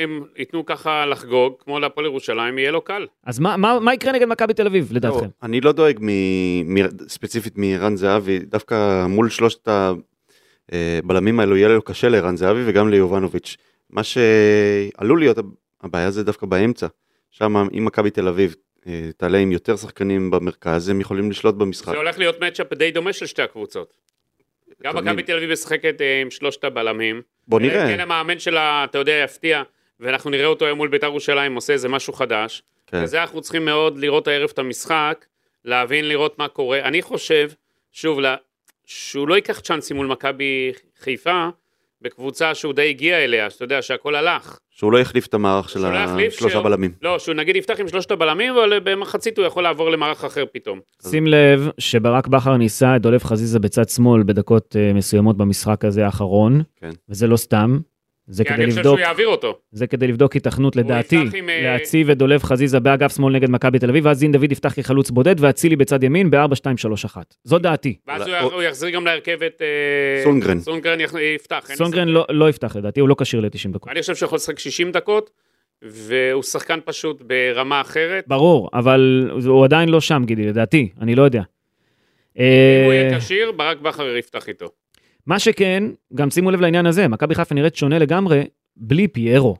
Speaker 4: אם ייתנו ככה לחגוג, כמו להפועל ירושלים, יהיה לו קל.
Speaker 2: אז מה, מה, מה יקרה נגד מכבי תל אביב,
Speaker 3: לא,
Speaker 2: לדעתכם?
Speaker 3: אני לא דואג מ- מ- ספציפית מערן זהבי, דווקא מול שלושת הבלמים האלו יהיה לו קשה לערן זהבי וגם ליובנוביץ'. מה שעלול להיות הבעיה זה דווקא באמצע. שם אם מכבי תל אביב אה, תעלה עם יותר שחקנים במרכז, הם יכולים לשלוט במשחק.
Speaker 4: זה הולך להיות מצ'אפ די דומה של שתי הקבוצות. גם
Speaker 3: תמיד.
Speaker 4: מכבי תל אביב משחקת אה, עם שלושת הבלמים.
Speaker 3: בוא
Speaker 4: אלא אם
Speaker 3: נראה.
Speaker 4: כן המאמן שלה, אתה יודע, יפתיע, ואנחנו נראה אותו היום מול בית"ר ירושלים עושה איזה משהו חדש.
Speaker 3: כן.
Speaker 4: וזה אנחנו צריכים מאוד לראות הערב את המשחק, להבין, לראות מה קורה. אני חושב, שוב, לה- שהוא לא ייקח צ'אנסים מול מכבי חיפה, בקבוצה שהוא די הגיע אליה, שאתה יודע שהכל הלך.
Speaker 3: שהוא לא יחליף את המערך של
Speaker 4: שהוא לא יחליף,
Speaker 3: השלושה
Speaker 4: שהוא-
Speaker 3: בלמים.
Speaker 4: לא, שהוא נגיד יפתח עם שלושת הבלמים, אבל במחצית הוא יכול לעבור למערך אחר פתאום.
Speaker 2: שים לב שברק בכר ניסה את דולף חזיזה בצד שמאל בדקות אה, מסוימות במשחק הזה האחרון,
Speaker 3: כן.
Speaker 2: וזה לא סתם. זה
Speaker 4: כי אני
Speaker 2: כדי
Speaker 4: חושב שהוא
Speaker 2: לבדוק,
Speaker 4: יעביר אותו.
Speaker 2: זה כדי לבדוק היתכנות לדעתי,
Speaker 4: יפתח עם, אה,
Speaker 2: להציב את דולב חזיזה באגף שמאל נגד מכבי תל אביב, ואז דין דוד יפתח כחלוץ בודד, ואצילי בצד ימין ב-4-2-3-1. זו דעתי.
Speaker 4: ואז
Speaker 3: אולי-
Speaker 4: הוא יח-
Speaker 3: או-
Speaker 4: הוא יחזיר גם להרכב את... אה,
Speaker 3: סונגרן.
Speaker 4: סונגרן יח- יפתח. אין לי
Speaker 2: סונגרן לא- לא יפתח לדעתי, הוא לא כשיר ל-90 דקות.
Speaker 4: אני חושב שהוא יכול לשחק 60 דקות, והוא שחקן פשוט ברמה אחרת.
Speaker 2: ברור, אבל הוא עדיין לא שם, גידי, לדעתי, אני לא יודע.
Speaker 4: אם הוא
Speaker 2: אה,
Speaker 4: יהיה כשיר, ברק בכר יפתח איתו.
Speaker 2: מה שכן, גם שימו לב לעניין הזה, מכבי חיפה נראית שונה לגמרי בלי פיירו.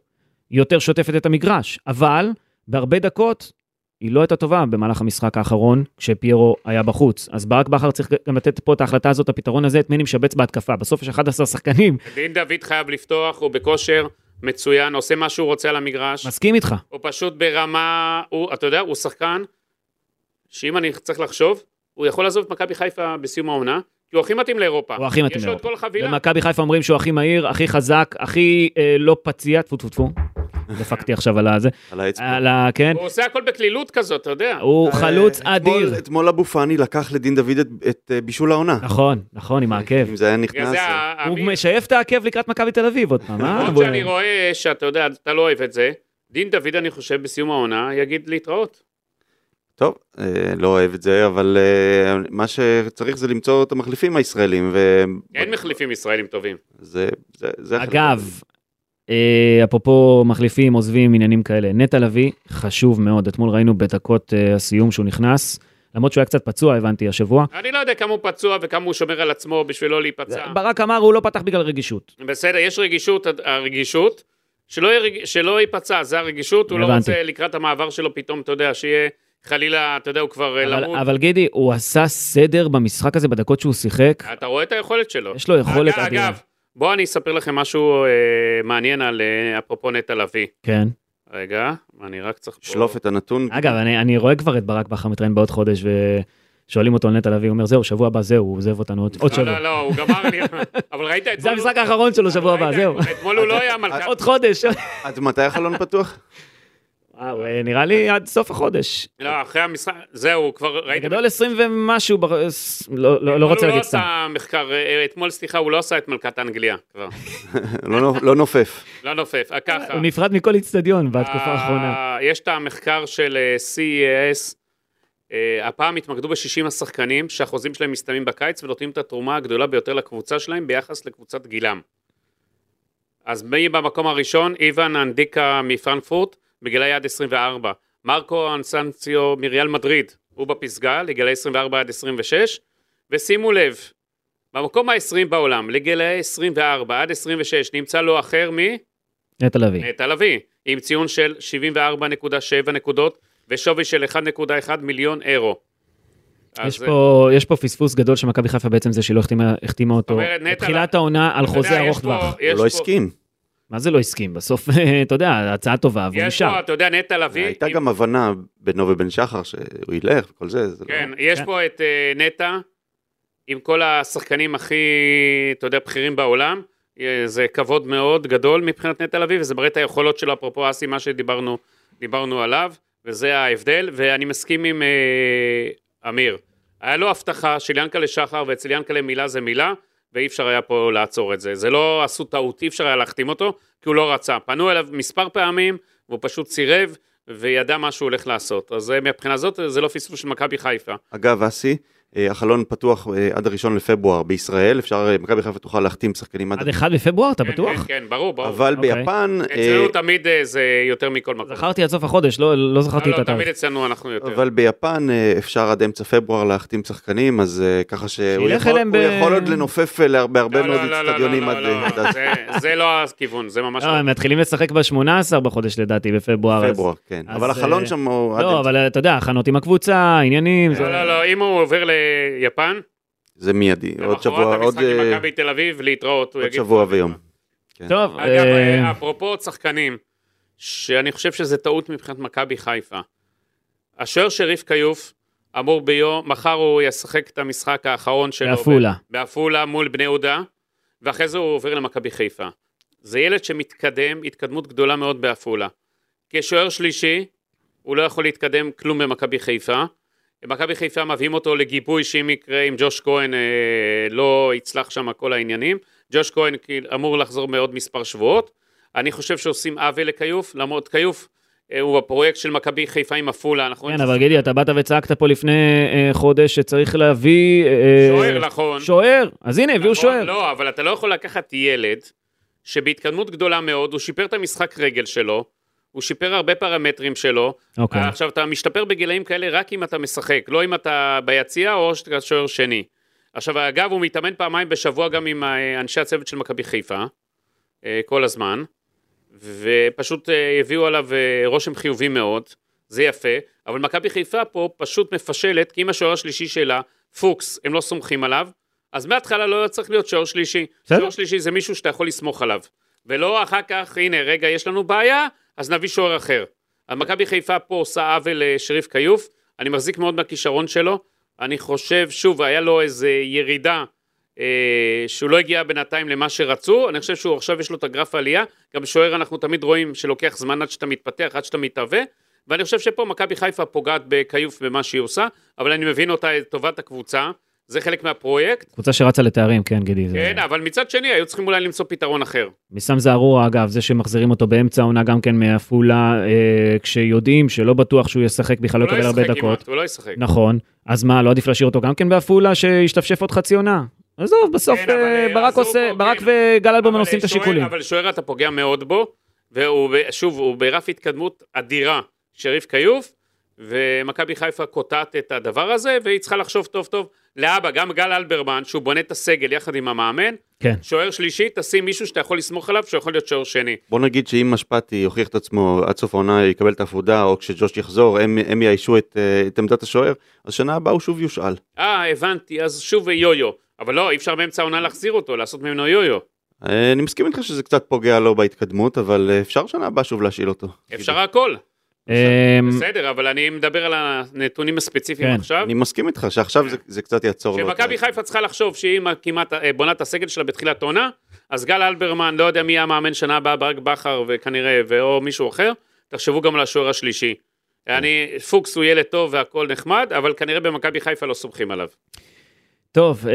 Speaker 2: היא יותר שוטפת את המגרש, אבל בהרבה דקות היא לא הייתה טובה במהלך המשחק האחרון, כשפיירו היה בחוץ. אז ברק בכר צריך גם לתת פה את ההחלטה הזאת, הפתרון הזה, את מי נשבץ בהתקפה. בסוף יש 11 שחקנים,
Speaker 4: דין דוד חייב לפתוח, הוא בכושר מצוין, עושה מה שהוא רוצה על המגרש.
Speaker 2: מסכים איתך.
Speaker 4: הוא פשוט ברמה, הוא, אתה יודע, הוא שחקן שאם אני צריך לחשוב, הוא יכול לעזוב את מכבי חיפה בסיום העונה, כי הוא הכי מתאים לאירופה.
Speaker 2: הוא הכי מתאים
Speaker 4: יש לו את כל החבילה.
Speaker 2: במכבי חיפה אומרים שהוא הכי מהיר, הכי חזק, הכי אה, לא פציע, טפו טפו טפו. דפקתי עכשיו על הזה,
Speaker 3: על האצבע.
Speaker 2: על ה... כן.
Speaker 4: הוא עושה הכל בקלילות כזאת, אתה יודע.
Speaker 2: הוא חלוץ
Speaker 3: אה, אתמול-
Speaker 2: אדיר.
Speaker 3: אתמול אבו פאני לקח לדין דוד את- את אה, בישול העונה.
Speaker 2: נכון, נכון,
Speaker 4: אה,
Speaker 2: עם העקב.
Speaker 3: אם זה היה
Speaker 4: בגלל
Speaker 3: נכנס...
Speaker 4: זה
Speaker 3: אה,
Speaker 4: ה-
Speaker 2: הוא
Speaker 4: ה-
Speaker 2: משייף את העקב לקראת מכבי תל אביב עוד פעם, אה?
Speaker 4: למרות שאני רואה שאתה יודע, אתה לא אוהב את זה, דין דוד, אני חושב, בסיום העונה, יגיד להתראות.
Speaker 3: טוב, אה, לא אוהב את זה, אבל אה, מה שצריך זה למצוא את המחליפים הישראלים, ו...
Speaker 4: אין מחליפים ישראלים טובים.
Speaker 3: זה... זה- זה החלק.
Speaker 2: אגב, אה, אפרופו מחליפים, עוזבים, עניינים כאלה, נטע לביא חשוב מאוד, אתמול ראינו בדקות אה, הסיום שהוא נכנס, למרות שהוא היה קצת פצוע, הבנתי, השבוע.
Speaker 4: אני לא יודע כמה הוא פצוע וכמה הוא שומר על עצמו בשביל לא להיפצע.
Speaker 2: ברק אמר, הוא לא פתח בגלל רגישות.
Speaker 4: בסדר, יש רגישות, הרגישות, שלא, יהיה רג- שלא ייפצע, זה הרגישות, הוא לא
Speaker 2: הבנתי.
Speaker 4: רוצה לקראת המעבר שלו פתאום, אתה יודע, שיהיה חלילה, אתה יודע, הוא כבר אה,
Speaker 2: אבל-
Speaker 4: למות.
Speaker 2: אבל גידי, הוא עשה סדר במשחק הזה בדקות שהוא שיחק.
Speaker 4: אתה רואה את היכולת שלו.
Speaker 2: יש לו יכולת
Speaker 4: אגב,
Speaker 2: אדירה.
Speaker 4: אגב, בואו אני אספר לכם משהו אה, מעניין על, אה, אפרופו נטע לביא.
Speaker 2: כן.
Speaker 4: רגע, אני רק צריך... פה-
Speaker 3: שלוף את הנתון.
Speaker 2: אגב, אני אני רואה כבר את ברק בכר מתראיין בעוד חודש, ושואלים אותו על נטע לביא, הוא אומר, זהו, שבוע הבא זהו, הוא עוזב אותנו עוד- עוד
Speaker 4: לא,
Speaker 2: שבוע.
Speaker 4: לא, לא, הוא גמר לי, אבל ראית את...
Speaker 2: זה המשחק האחרון שלו שבוע הבא, זהו.
Speaker 4: אתמול הוא לא היה מלכה.
Speaker 2: עוד חודש.
Speaker 3: עד מתי החלון פתוח?
Speaker 2: וואו, אה, נראה לי עד סוף החודש.
Speaker 4: לא, אחרי המשחק, זהו, הוא כבר ראיתם.
Speaker 2: בגדול 20 ומשהו, בר- ס- לא- לא לא רוצה להגיד סתם.
Speaker 4: סתם. הוא לא עשה מחקר, אה, אתמול, סליחה, הוא לא עשה את מלכת אנגליה כבר.
Speaker 3: לא נו- לא נופף.
Speaker 4: לא נופף, אה, ככה.
Speaker 2: הוא נפרד מכל איצטדיון בתקופה
Speaker 4: אה,
Speaker 2: האחרונה.
Speaker 4: יש את המחקר של אה, CES, אה, הפעם התמקדו ב-60 השחקנים שהחוזים שלהם מסתיימים בקיץ ונותנים את התרומה הגדולה ביותר לקבוצה שלהם ביחס לקבוצת גילם. אז מי במקום הראשון? איוון אנדיקה מפרנקפורט, בגילאי עד 24. מרקו אנסנציו מריאל מדריד, הוא בפסגה, לגילאי 24 עד 26. ושימו לב, במקום ה-20 בעולם, לגילאי 24 עד 26, נמצא לא אחר מ...
Speaker 2: נטע לביא.
Speaker 4: נטע לביא, עם ציון של 74.7 נקודות ושווי של 1.1 מיליון אירו. אז,
Speaker 2: יש פה- יש פה פספוס גדול שמכבי חיפה בעצם זה שלא החתימה- החתימה אותו
Speaker 4: אומרת, נטע
Speaker 2: בתחילת
Speaker 4: לביא-
Speaker 2: העונה על
Speaker 4: אתה יודע,
Speaker 2: חוזה
Speaker 4: יש
Speaker 2: ארוך
Speaker 4: פה-
Speaker 2: טווח.
Speaker 3: הוא
Speaker 4: יש
Speaker 3: לא
Speaker 4: פה-
Speaker 3: הסכים.
Speaker 2: מה זה לא הסכים? בסוף, אתה יודע, הצעה טובה, והוא
Speaker 4: יש פה,
Speaker 2: נשאר.
Speaker 4: אתה יודע, נטע לביא,
Speaker 3: הייתה
Speaker 4: עם-
Speaker 3: גם הבנה בינו ובין שחר שהוא ילך וכל זה. זה לא-
Speaker 4: כן, יש
Speaker 2: כן.
Speaker 4: פה את אה, נטע, עם כל השחקנים הכי, אתה יודע, בכירים בעולם. אה, זה כבוד מאוד גדול מבחינת נטע לביא, וזה מראה את היכולות שלו, אפרופו אסי, מה שדיברנו דיברנו עליו, וזה ההבדל, ואני מסכים עם אה, אמיר. היה לו הבטחה של ינקלה שחר, ואצל ינקלה מילה זה מילה, ואי אפשר היה פה לעצור את זה. זה לא עשו טעות, אי אפשר היה להחתים אותו, כי הוא לא רצה. פנו אליו מספר פעמים, והוא פשוט סירב, וידע מה שהוא הולך לעשות. אז אה, מהבחינה הזאת, זה לא פספוס של מכבי חיפה.
Speaker 3: אגב, אסי, אה, החלון פתוח אה, עד הראשון לפברואר בישראל, אפשר, אה, מכבי חיפה תוכל להחתים שחקנים עד...
Speaker 2: עד 1 בפברואר, אתה
Speaker 4: כן,
Speaker 2: בטוח?
Speaker 4: כן, כן, ברור, ברור.
Speaker 3: אבל
Speaker 2: אוקיי.
Speaker 3: ביפן... אה,
Speaker 4: אצלנו תמיד אה, זה יותר מכל מקום.
Speaker 2: זכרתי עד סוף החודש, לא לא זכרתי
Speaker 4: כן. לא,
Speaker 2: את
Speaker 4: לא,
Speaker 2: התאריך.
Speaker 4: תמיד אצלנו אנחנו יותר.
Speaker 3: אבל ביפן אה, אפשר עד אמצע פברואר להחתים שחקנים, אז אה, ככה שהוא
Speaker 2: שילך
Speaker 3: יכול,
Speaker 2: אליהם
Speaker 3: הוא
Speaker 2: ב-
Speaker 3: יכול עוד לנופף אה, להר- בהרבה
Speaker 4: לא,
Speaker 3: מאוד
Speaker 4: לא, לא, לא,
Speaker 3: אצטדיונים
Speaker 4: לא,
Speaker 3: עד אה,
Speaker 4: לא, לא,
Speaker 3: עד אז.
Speaker 4: זה- זה לא הכיוון, זה ממש
Speaker 2: לא, הם מתחילים לשחק ב-18 בחודש לדעתי, בפברואר. אז-
Speaker 3: פברואר, כן.
Speaker 2: אז,
Speaker 3: אבל החלון
Speaker 2: אה,
Speaker 3: שם הוא עד
Speaker 2: לא,
Speaker 3: אמצע.
Speaker 2: אבל אתה יודע, הכנות עם הקבוצה, עניינים. זה-
Speaker 4: לא, לא, לא, אם הוא עובר ליפן,
Speaker 3: זה מיידי. עוד שבוע,
Speaker 4: למחרת
Speaker 3: עוד
Speaker 4: המשחק עם
Speaker 3: אה,
Speaker 4: מכבי תל אביב, להתראות. הוא
Speaker 3: עוד
Speaker 4: יגיד כן.
Speaker 3: שבוע
Speaker 4: תודה
Speaker 3: ויום.
Speaker 4: רבה.
Speaker 2: טוב,
Speaker 4: אגב,
Speaker 2: אה,
Speaker 4: אה, אפרופו עוד שחקנים, שאני חושב שזה טעות מבחינת מכבי חיפה. השוער של רבקה יוף אמור ביום, מחר הוא ישחק את המשחק האחרון שלו.
Speaker 2: בעפולה.
Speaker 4: ב- בעפולה מול בני יהודה, ואחרי זה הוא עובר למכבי חיפה. זה ילד שמתקדם, התקדמות גדולה מאוד בעפולה. כשוער שלישי, הוא לא יכול להתקדם כלום במכבי חיפה. מכבי חיפה מביאים אותו לגיבוי שאם יקרה, אם ג'וש כהן אה, לא יצלח שם כל העניינים. ג'וש כהן כאילו, אמור לחזור מעוד מספר שבועות. אני חושב שעושים עוול לכיוף, למרות כיוף אה, הוא הפרויקט של מכבי חיפה עם עפולה. אנחנו
Speaker 2: כן, אבל גידי, אתה באת וצעקת פה לפני אה, חודש שצריך להביא... אה,
Speaker 4: שוער, נכון.
Speaker 2: שוער, אז הנה, הביאו
Speaker 4: נכון,
Speaker 2: שוער.
Speaker 4: לא, אבל אתה לא יכול לקחת ילד שבהתקדמות גדולה מאוד, הוא שיפר את המשחק רגל שלו, הוא שיפר הרבה פרמטרים שלו.
Speaker 2: אוקיי.
Speaker 4: אה, עכשיו, אתה משתפר בגילאים כאלה רק אם אתה משחק, לא אם אתה ביציע או שאתה שוער שני. עכשיו, אגב, הוא מתאמן פעמיים בשבוע גם עם אה, אנשי הצוות של מכבי חיפה, אה, כל הזמן, ופשוט אה, הביאו עליו אה, רושם חיובי מאוד, זה יפה, אבל מכבי חיפה פה פשוט מפשלת, כי אם השוער השלישי שלה, פוקס, הם לא סומכים עליו, אז מההתחלה לא היה צריך להיות שוער שלישי.
Speaker 2: בסדר.
Speaker 4: שוער שלישי זה מישהו שאתה יכול לסמוך עליו. ולא אחר כך, הנה, רגע, יש לנו בעיה, אז נביא שוער אחר. אז מכבי חיפה פה עושה עוול לשריף כיוף, אני מחזיק מאוד מהכישרון שלו, אני חושב, שוב, היה לו איזו ירידה, אה, שהוא לא הגיע בינתיים למה שרצו, אני חושב שהוא עכשיו יש לו את הגרף העלייה, גם שוער אנחנו תמיד רואים שלוקח זמן עד שאתה מתפתח, עד שאתה מתהווה, ואני חושב שפה מכבי חיפה פוגעת בכיוף במה שהיא עושה, אבל אני מבין אותה, את טובת הקבוצה, זה חלק מהפרויקט,
Speaker 2: קבוצה שרצה לתארים, כן, גידי. זה-
Speaker 4: כן, אבל מצד שני היו צריכים אולי למצוא פתרון אחר.
Speaker 2: מסם זערורה, אגב, זה שמחזירים אותו באמצע העונה גם כן מעפולה, אה, כשיודעים שלא בטוח שהוא ישחק בכלל, לא
Speaker 4: הוא
Speaker 2: יקבל הרבה
Speaker 4: ישחק
Speaker 2: דקות.
Speaker 4: כמעט, הוא לא ישחק.
Speaker 2: נכון, אז מה, לא עדיף להשאיר אותו גם כן בעפולה, שישתפשף עוד חצי עונה? עזוב, בסוף
Speaker 4: כן, אבל,
Speaker 2: אה,
Speaker 4: אה,
Speaker 2: ברק
Speaker 4: אז הוא
Speaker 2: עושה,
Speaker 4: פה,
Speaker 2: ברק
Speaker 4: כן.
Speaker 2: וגל אלברמן
Speaker 4: אבל אה,
Speaker 2: עושים את
Speaker 4: שוער-
Speaker 2: השיקולים.
Speaker 4: אבל שוער אתה פוגע מאוד בו, והוא, ב- שוב, הוא ברף התקדמות אדירה, שריף כיוף, ומכבי חיפה קוטעת את הדבר הזה, והיא צריכה לחשוב טוב טוב. לאבא, גם גל אלברמן, שהוא בונה את הסגל יחד עם המאמן,
Speaker 2: כן.
Speaker 4: שוער שלישי, תשים מישהו שאתה יכול לסמוך עליו, שיכול להיות שוער שני.
Speaker 3: בוא נגיד שאם משפטי יוכיח את עצמו עד סוף העונה יקבל את העבודה, או כשג'וש יחזור, הם, הם יאיישו את, אה, את עמדת השוער, אז שנה הבאה הוא שוב יושאל.
Speaker 4: אה, הבנתי, אז שוב יו-יו. אבל לא, אי אפשר באמצע העונה להחזיר אותו, לעשות ממנו יו-יו.
Speaker 3: אה, אני מסכים איתך שזה קצת פוגע לו בהתקדמות, אבל אה, אפשר שנה הבאה שוב להשאיל אותו.
Speaker 4: אפשר הכל,
Speaker 3: Mm-hmm.
Speaker 2: אה,
Speaker 4: בסדר, אבל אני מדבר על הנתונים הספציפיים
Speaker 2: כן.
Speaker 4: עכשיו.
Speaker 3: אני מסכים איתך שעכשיו זה, זה קצת יעצור לו. את ה-
Speaker 4: שמכבי חיפה צריכה לחשוב שהיא כמעט אה, בונה את הסגל שלה בתחילת עונה, אז גל אלברמן, לא יודע מי יהיה המאמן שנה הבאה, ברק בכר וכנראה, ואו מישהו אחר, תחשבו גם על השוער השלישי.
Speaker 3: כן.
Speaker 4: אני, פוקס הוא ילד טוב והכל נחמד, אבל כנראה במכבי חיפה לא סומכים עליו.
Speaker 2: טוב, אה,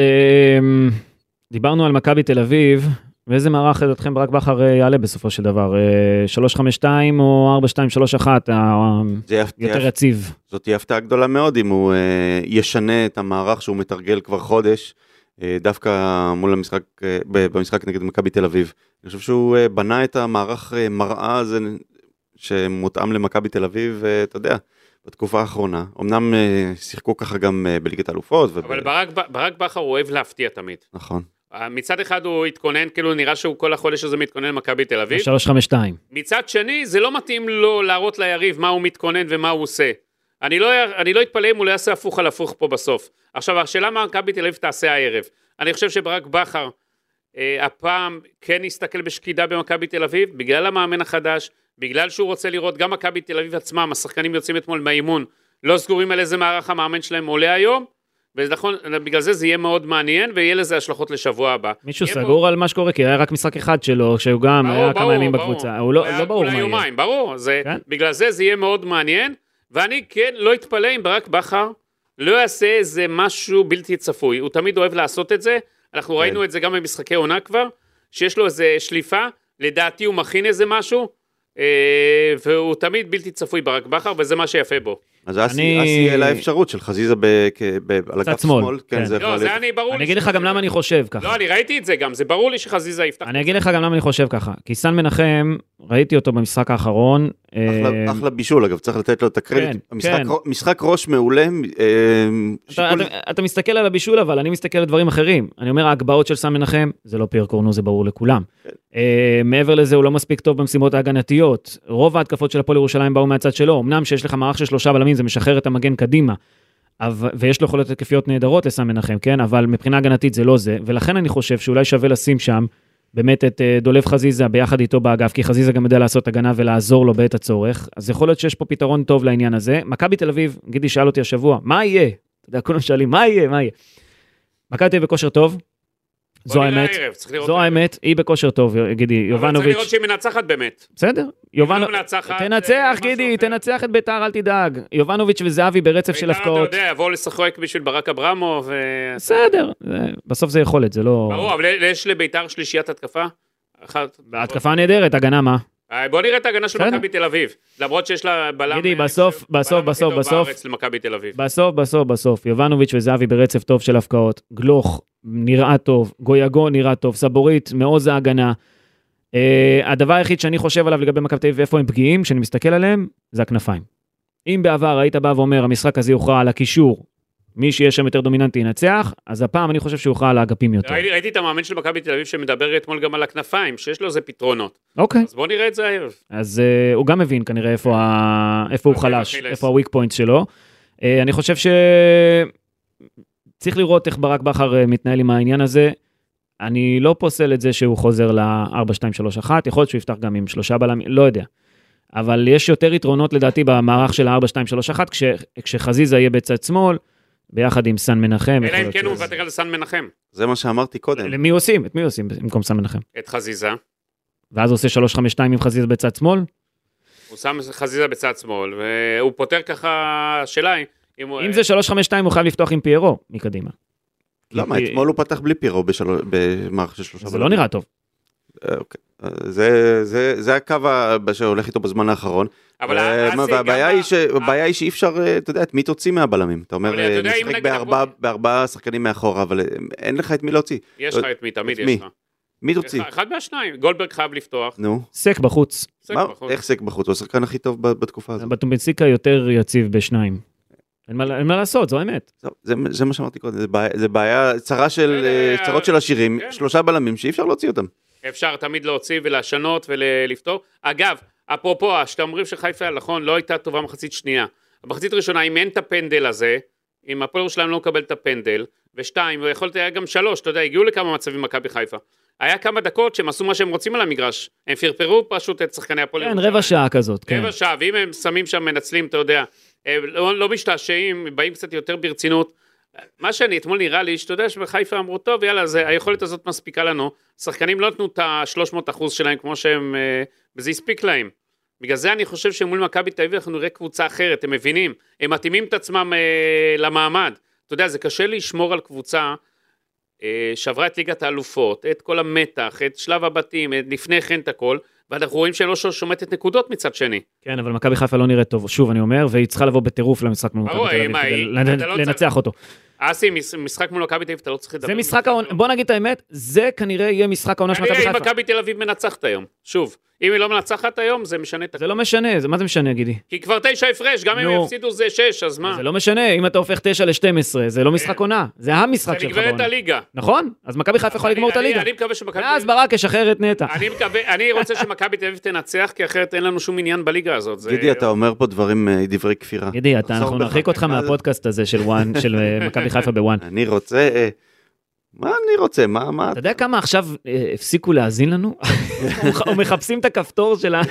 Speaker 2: דיברנו על מכבי תל אביב, ואיזה מערך לדעתכם ברק בכר אה, יעלה בסופו של דבר? אה, 352 או 4231, ה- ה-
Speaker 3: זה יהיה-
Speaker 2: יותר יציב.
Speaker 3: זאת תהיה הפתעה גדולה מאוד אם הוא אה, ישנה את המערך שהוא מתרגל כבר חודש, אה, דווקא מול המשחק, אה, ב- במשחק נגד מכבי תל אביב. אני חושב שהוא אה, בנה את המערך אה, מראה הזה שמותאם למכבי תל אביב, אה, אתה יודע, בתקופה האחרונה. אמנם אה, שיחקו ככה גם אה, בליגת האלופות. וב-
Speaker 4: אבל ברק ב- ברק בכר הוא אוהב להפתיע תמיד.
Speaker 3: נכון.
Speaker 4: אה, מצד אחד הוא התכונן, כאילו נראה שהוא כל החודש הזה מתכונן למכבי תל אביב.
Speaker 2: 352.
Speaker 4: מצד שני, זה לא מתאים לו להראות ליריב מה הוא מתכונן ומה הוא עושה. אני לא, אני לא אתפלא אם הוא לא יעשה הפוך על הפוך פה בסוף. עכשיו, השאלה מה מכבי תל אביב תעשה הערב. אני חושב שברק בכר אה, הפעם כן הסתכל בשקידה במכבי תל אביב, בגלל המאמן החדש, בגלל שהוא רוצה לראות גם מכבי תל אביב עצמם, השחקנים יוצאים אתמול מהאימון, לא סגורים על איזה מערך המאמן שלהם עולה היום, ונכון, בגלל זה זה יהיה מאוד מעניין, ויהיה לזה השלכות לשבוע הבא.
Speaker 2: מישהו
Speaker 4: יהיה פה-
Speaker 2: סגור על מה שקורה? כי היה רק משחק אחד שלו, כשהוא גם
Speaker 4: ברור,
Speaker 2: היה כמה
Speaker 4: ברור,
Speaker 2: ימים
Speaker 4: ברור.
Speaker 2: בקבוצה. הוא לא
Speaker 4: היה
Speaker 2: לא ברור
Speaker 4: אולי
Speaker 2: מה יהיה.
Speaker 4: יומיים, ברור. זה,
Speaker 2: כן.
Speaker 4: בגלל זה זה יהיה מאוד מעניין, ואני כן לא אתפלא אם ברק בכר לא יעשה איזה משהו בלתי צפוי. הוא תמיד אוהב לעשות את זה,
Speaker 2: כן.
Speaker 4: אנחנו ראינו את זה גם במשחקי עונה כבר, שיש לו איזה שליפה, לדעתי הוא מכין איזה משהו, אה, והוא תמיד בלתי צפוי ברק בכר, וזה מה שיפה בו.
Speaker 3: אז אסי
Speaker 2: אני-
Speaker 3: אסי העלה אפשרות של חזיזה ב- כ- ב- על
Speaker 2: קצת
Speaker 3: הכף
Speaker 2: שמאל,
Speaker 3: שמאל.
Speaker 2: כן.
Speaker 3: כן, זה
Speaker 4: לא,
Speaker 3: יכול
Speaker 4: זה
Speaker 3: להיות.
Speaker 4: אני, ברור לי.
Speaker 2: אני אגיד לך
Speaker 4: שזה-
Speaker 2: גם למה אני חושב ככה.
Speaker 4: לא, אני ראיתי את זה גם, זה ברור לי שחזיזה יפתח.
Speaker 2: אני אגיד לך גם למה אני חושב ככה. כי סן מנחם, ראיתי אותו במשחק האחרון. אה,
Speaker 3: אחלה, אחלה בישול אגב, צריך לתת לו את הקרדיט.
Speaker 2: כן,
Speaker 3: משחק,
Speaker 2: כן.
Speaker 3: ר- משחק ראש מעולה, אה,
Speaker 2: אתה,
Speaker 3: שיקול
Speaker 2: אתה, אתה מסתכל על הבישול אבל אני מסתכל על דברים אחרים אני אומר ההגבהות של סם מנחם זה לא פייר קורנו זה ברור לכולם. אה, מעבר לזה הוא לא מספיק טוב במשימות ההגנתיות רוב ההתקפות של הפועל ירושלים באו מהצד שלו אמנם שיש לך מערך של שלושה בלמים זה משחרר את המגן קדימה. אבל- ויש לו יכולות התקפיות נהדרות לסן מנחם, כן? אבל מבחינה הגנתית זה לא זה, ולכן אני חושב שאולי שווה לשים שם באמת את אה, דולב חזיזה ביחד איתו באגף, כי חזיזה גם יודע לעשות הגנה ולעזור לו בעת הצורך, אז יכול להיות שיש פה פתרון טוב לעניין הזה. מכבי תל אביב, גידי שאל אותי השבוע, מה יהיה? אתה יודע, כולם שואלים, מה יהיה? מה יהיה? מכבי תל אביב בכושר טוב,
Speaker 4: בוא
Speaker 2: זו
Speaker 4: נראה
Speaker 2: האמת,
Speaker 4: הערב, צריך לראות
Speaker 2: זו
Speaker 4: הערב.
Speaker 2: האמת, היא בכושר טוב, גידי,
Speaker 4: אבל צריך לראות
Speaker 2: יובנוביץ',
Speaker 4: שהיא מנצחת באמת.
Speaker 2: בסדר,
Speaker 4: לא
Speaker 2: יובנוביץ',
Speaker 4: מנצחת, אה,
Speaker 2: תנצח
Speaker 4: משהו
Speaker 2: גידי,
Speaker 4: אחר.
Speaker 2: תנצח את ביתר, אל תדאג. יובנוביץ' וזהבי ברצף של
Speaker 4: בעיקר,
Speaker 2: הפקעות.
Speaker 4: אתה יודע, יבואו לשחק בשביל ברק אברמוב. ו-
Speaker 2: בסדר, זה- בסוף זה יכולת, זה לא...
Speaker 4: ברור, אבל יש לביתר שלישיית התקפה? אחת.
Speaker 2: התקפה נהדרת, הגנה מה?
Speaker 4: אה, בוא נראה את ההגנה של
Speaker 2: בסדר.
Speaker 4: מכבי תל אביב. למרות שיש לה בלם...
Speaker 2: גידי,
Speaker 4: אה,
Speaker 2: בסוף,
Speaker 4: בלם
Speaker 2: בסוף,
Speaker 4: הכי
Speaker 2: בסוף,
Speaker 4: טוב
Speaker 2: בסוף.
Speaker 4: בארץ למכבי תל אביב.
Speaker 2: בסוף, בסוף, בסוף, יובנוביץ' וזהבי ברצף טוב של הפקעות. גלוך נראה טוב, גויגון נראה טוב, סבורית, מעוז ההגנה. אה, הדבר היחיד שאני חושב עליו לגבי מכבי תל אביב ואיפה הם פגיעים, כשאני מסתכל עליהם, זה הכנפיים. אם בעבר היית בא ואומר, המשחק הזה יוכרע על הקישור, מי שיהיה שם יותר דומיננטי ינצח, אז הפעם אני חושב שהוא יוכרע על האגפים יותר.
Speaker 4: ראיתי ראיתי את המאמן של מכבי תל אביב שמדבר אתמול גם על הכנפיים, שיש לו איזה פתרונות.
Speaker 2: אוקיי.
Speaker 4: אז בוא נראה את זה הערב.
Speaker 2: אז uh, הוא גם מבין כנראה איפה, ה... איפה הוא
Speaker 4: אוקיי,
Speaker 2: חלש,
Speaker 4: אכילס.
Speaker 2: איפה ה-weak point שלו. Uh, אני חושב ש... צריך לראות איך ברק בכר אה, מתנהל עם העניין הזה. אני לא פוסל את זה שהוא חוזר ל-4-2-3-1, יכול להיות שהוא יפתח גם עם שלושה בלמים, לא יודע. אבל יש יותר יתרונות לדעתי במערך של ה-4-2-3-1, כש... כשחזיזה יהיה בצד שמאל, ביחד עם סן מנחם. יכול
Speaker 4: אלא אם
Speaker 2: להיות
Speaker 4: כן הוא
Speaker 2: שזה-
Speaker 4: מוותר על סן מנחם,
Speaker 3: זה מה שאמרתי קודם.
Speaker 2: למי הוא עושים? את מי הוא עושים במקום סן מנחם?
Speaker 4: את חזיזה.
Speaker 2: ואז הוא עושה 3-5-2 עם חזיזה בצד שמאל?
Speaker 4: הוא שם חזיזה בצד שמאל, והוא פותר ככה, השאלה היא, אם אה, הוא...
Speaker 2: אם זה 3-5-2 הוא חייב לפתוח עם פיירו מקדימה.
Speaker 3: למה?
Speaker 2: כי-
Speaker 3: לא, אתמול הוא פתח בלי פירו בשלו- במערכת של שלושה
Speaker 2: זה לא נראה טוב.
Speaker 3: אה, אוקיי. אה, זה- זה- זה הקו ה- שהולך איתו בזמן האחרון.
Speaker 4: אבל
Speaker 3: אה,
Speaker 4: אז
Speaker 3: מה,
Speaker 4: גם
Speaker 3: והבעיה
Speaker 4: ה-
Speaker 3: היא ש- הבעיה היא שאי אפשר, אה, אתה יודע, את מי תוציא מהבלמים? אתה
Speaker 4: אבל
Speaker 3: אומר,
Speaker 4: אתה
Speaker 3: אה,
Speaker 4: יודע, אם
Speaker 3: נשחק
Speaker 4: נגיד
Speaker 3: בארבעה-
Speaker 4: אנחנו-
Speaker 3: בארבעה שחקנים מאחורה, אבל אה, אין לך את מי להוציא.
Speaker 4: יש לך את מי, תמיד
Speaker 3: את מי?
Speaker 4: יש לך.
Speaker 3: מי תוציא?
Speaker 4: אחד- אחד מהשניים, גולדברג חייב לפתוח.
Speaker 3: נו,
Speaker 2: סק בחוץ,
Speaker 4: סק
Speaker 3: מה-
Speaker 4: בחוץ.
Speaker 3: איך סק בחוץ? הוא השחקן הכי טוב ב- בתקופה הזאת.
Speaker 2: בטומבנסיקה יותר יציב בשניים. אין מה, אין מה לעשות, זו האמת.
Speaker 3: זהו, זה- זה מה שאמרתי קודם, זה בעיה- זה בעיה, צרה של,
Speaker 4: אה,
Speaker 3: אה, צרות של עשירים,
Speaker 4: כן.
Speaker 3: שלושה בלמים שאי אפשר להוציא אותם.
Speaker 4: אפשר תמיד להוציא ולשנות ולפתור. אגב, אפרופו, שאתם אומרים שחיפה, נכון, לא הייתה טובה מחצית שנייה. המחצית הראשונה, אם אין את הפנדל הזה, אם הפועל ירושלים לא מקבל את הפנדל, ושתיים, ויכול להיות היה גם שלוש, אתה יודע, הגיעו לכמה מצבים במכבי חיפה. היה כמה דקות שהם עשו מה שהם רוצים על המגרש. הם פרפרו פשוט את שחקני הפועל
Speaker 2: כן, רבע שעה כזאת, כן.
Speaker 4: רבע שעה, ואם הם שמים שם, מנצלים, אתה יודע, הם לא, לא משתעשעים, באים קצת יותר ברצינות. מה שאני, אתמול נראה לי, שאתה יודע שבחיפה אמרו, טוב, יאללה, זה, היכולת הזאת מספיקה לנו. שחקנים לא נתנו את ה-300 אחוז שלהם כמו שהם, אה, וזה הספיק להם. בגלל זה אני חושב שמול מכבי תל אביב אנחנו נראה קבוצה אחרת, הם מבינים, הם מתאימים את עצמם אה, למעמד. אתה יודע, זה קשה לשמור על קבוצה אה, שעברה את ליגת האלופות, את כל המתח, את שלב הבתים, את לפני כן את הכל, ואנחנו רואים שלא שומטת נקודות מצד שני.
Speaker 2: כן, אבל מכבי חיפה לא נראית טוב, שוב אני אומר, והיא צריכה לבוא בטירוף למשחק מול מכבי
Speaker 4: ברור,
Speaker 2: תל אביב
Speaker 4: מה,
Speaker 2: כדי
Speaker 4: היא-
Speaker 2: לנ-
Speaker 4: אתה לא צריך-
Speaker 2: לנצח אותו.
Speaker 4: אסי, מש- משחק מול מכבי תל אביב, אתה לא צריך לדבר.
Speaker 2: זה משחק העונה, בוא נגיד את האמת, זה כנראה יהיה משחק העונה של מכבי
Speaker 4: כנראה אם
Speaker 2: חיפה.
Speaker 4: מכבי תל אביב מנצחת היום. שוב, אם היא לא מנצחת היום, זה משנה את
Speaker 2: זה
Speaker 4: הכל.
Speaker 2: לא משנה, זה- מה זה משנה גידי?
Speaker 4: כי כבר תשע הפרש, גם אם
Speaker 2: נו.
Speaker 4: הם יפסידו זה שש, אז מה? אה.
Speaker 2: זה לא משנה, אם אתה הופך 9 ל-12, זה לא משחק עונה, זה המשחק
Speaker 4: זה
Speaker 2: שלך
Speaker 4: נגמרת
Speaker 2: בעונה.
Speaker 4: הליגה.
Speaker 2: נכון? אז מכבי חיפה יכולה
Speaker 4: אני-
Speaker 2: לגמור את
Speaker 4: אני-
Speaker 2: הליגה.
Speaker 4: אני מקווה שמכבי...
Speaker 2: ואז ברק ישחרר את נטע.
Speaker 4: אני מקווה, אני רוצה שמכבי תל אביב תנצח, כי אחרת אין לנו שום עניין בליגה הזאת. זה-
Speaker 3: גידי, אתה אומר פה דברים, אה, דברי כפירה.
Speaker 2: גידי, אתה-
Speaker 3: תחזור
Speaker 2: אנחנו
Speaker 3: בך. אה,
Speaker 2: נרחיק אותך
Speaker 3: מה זה?
Speaker 2: מהפודקאסט הזה של וואן, של אה, מכבי חיפה בוואן.
Speaker 3: אני רוצה... אה, מה אני רוצה? מה, מה?
Speaker 2: אתה יודע כמה עכשיו אה, הפסיקו להאזין לנו? או מחפשים את הכפתור של ה...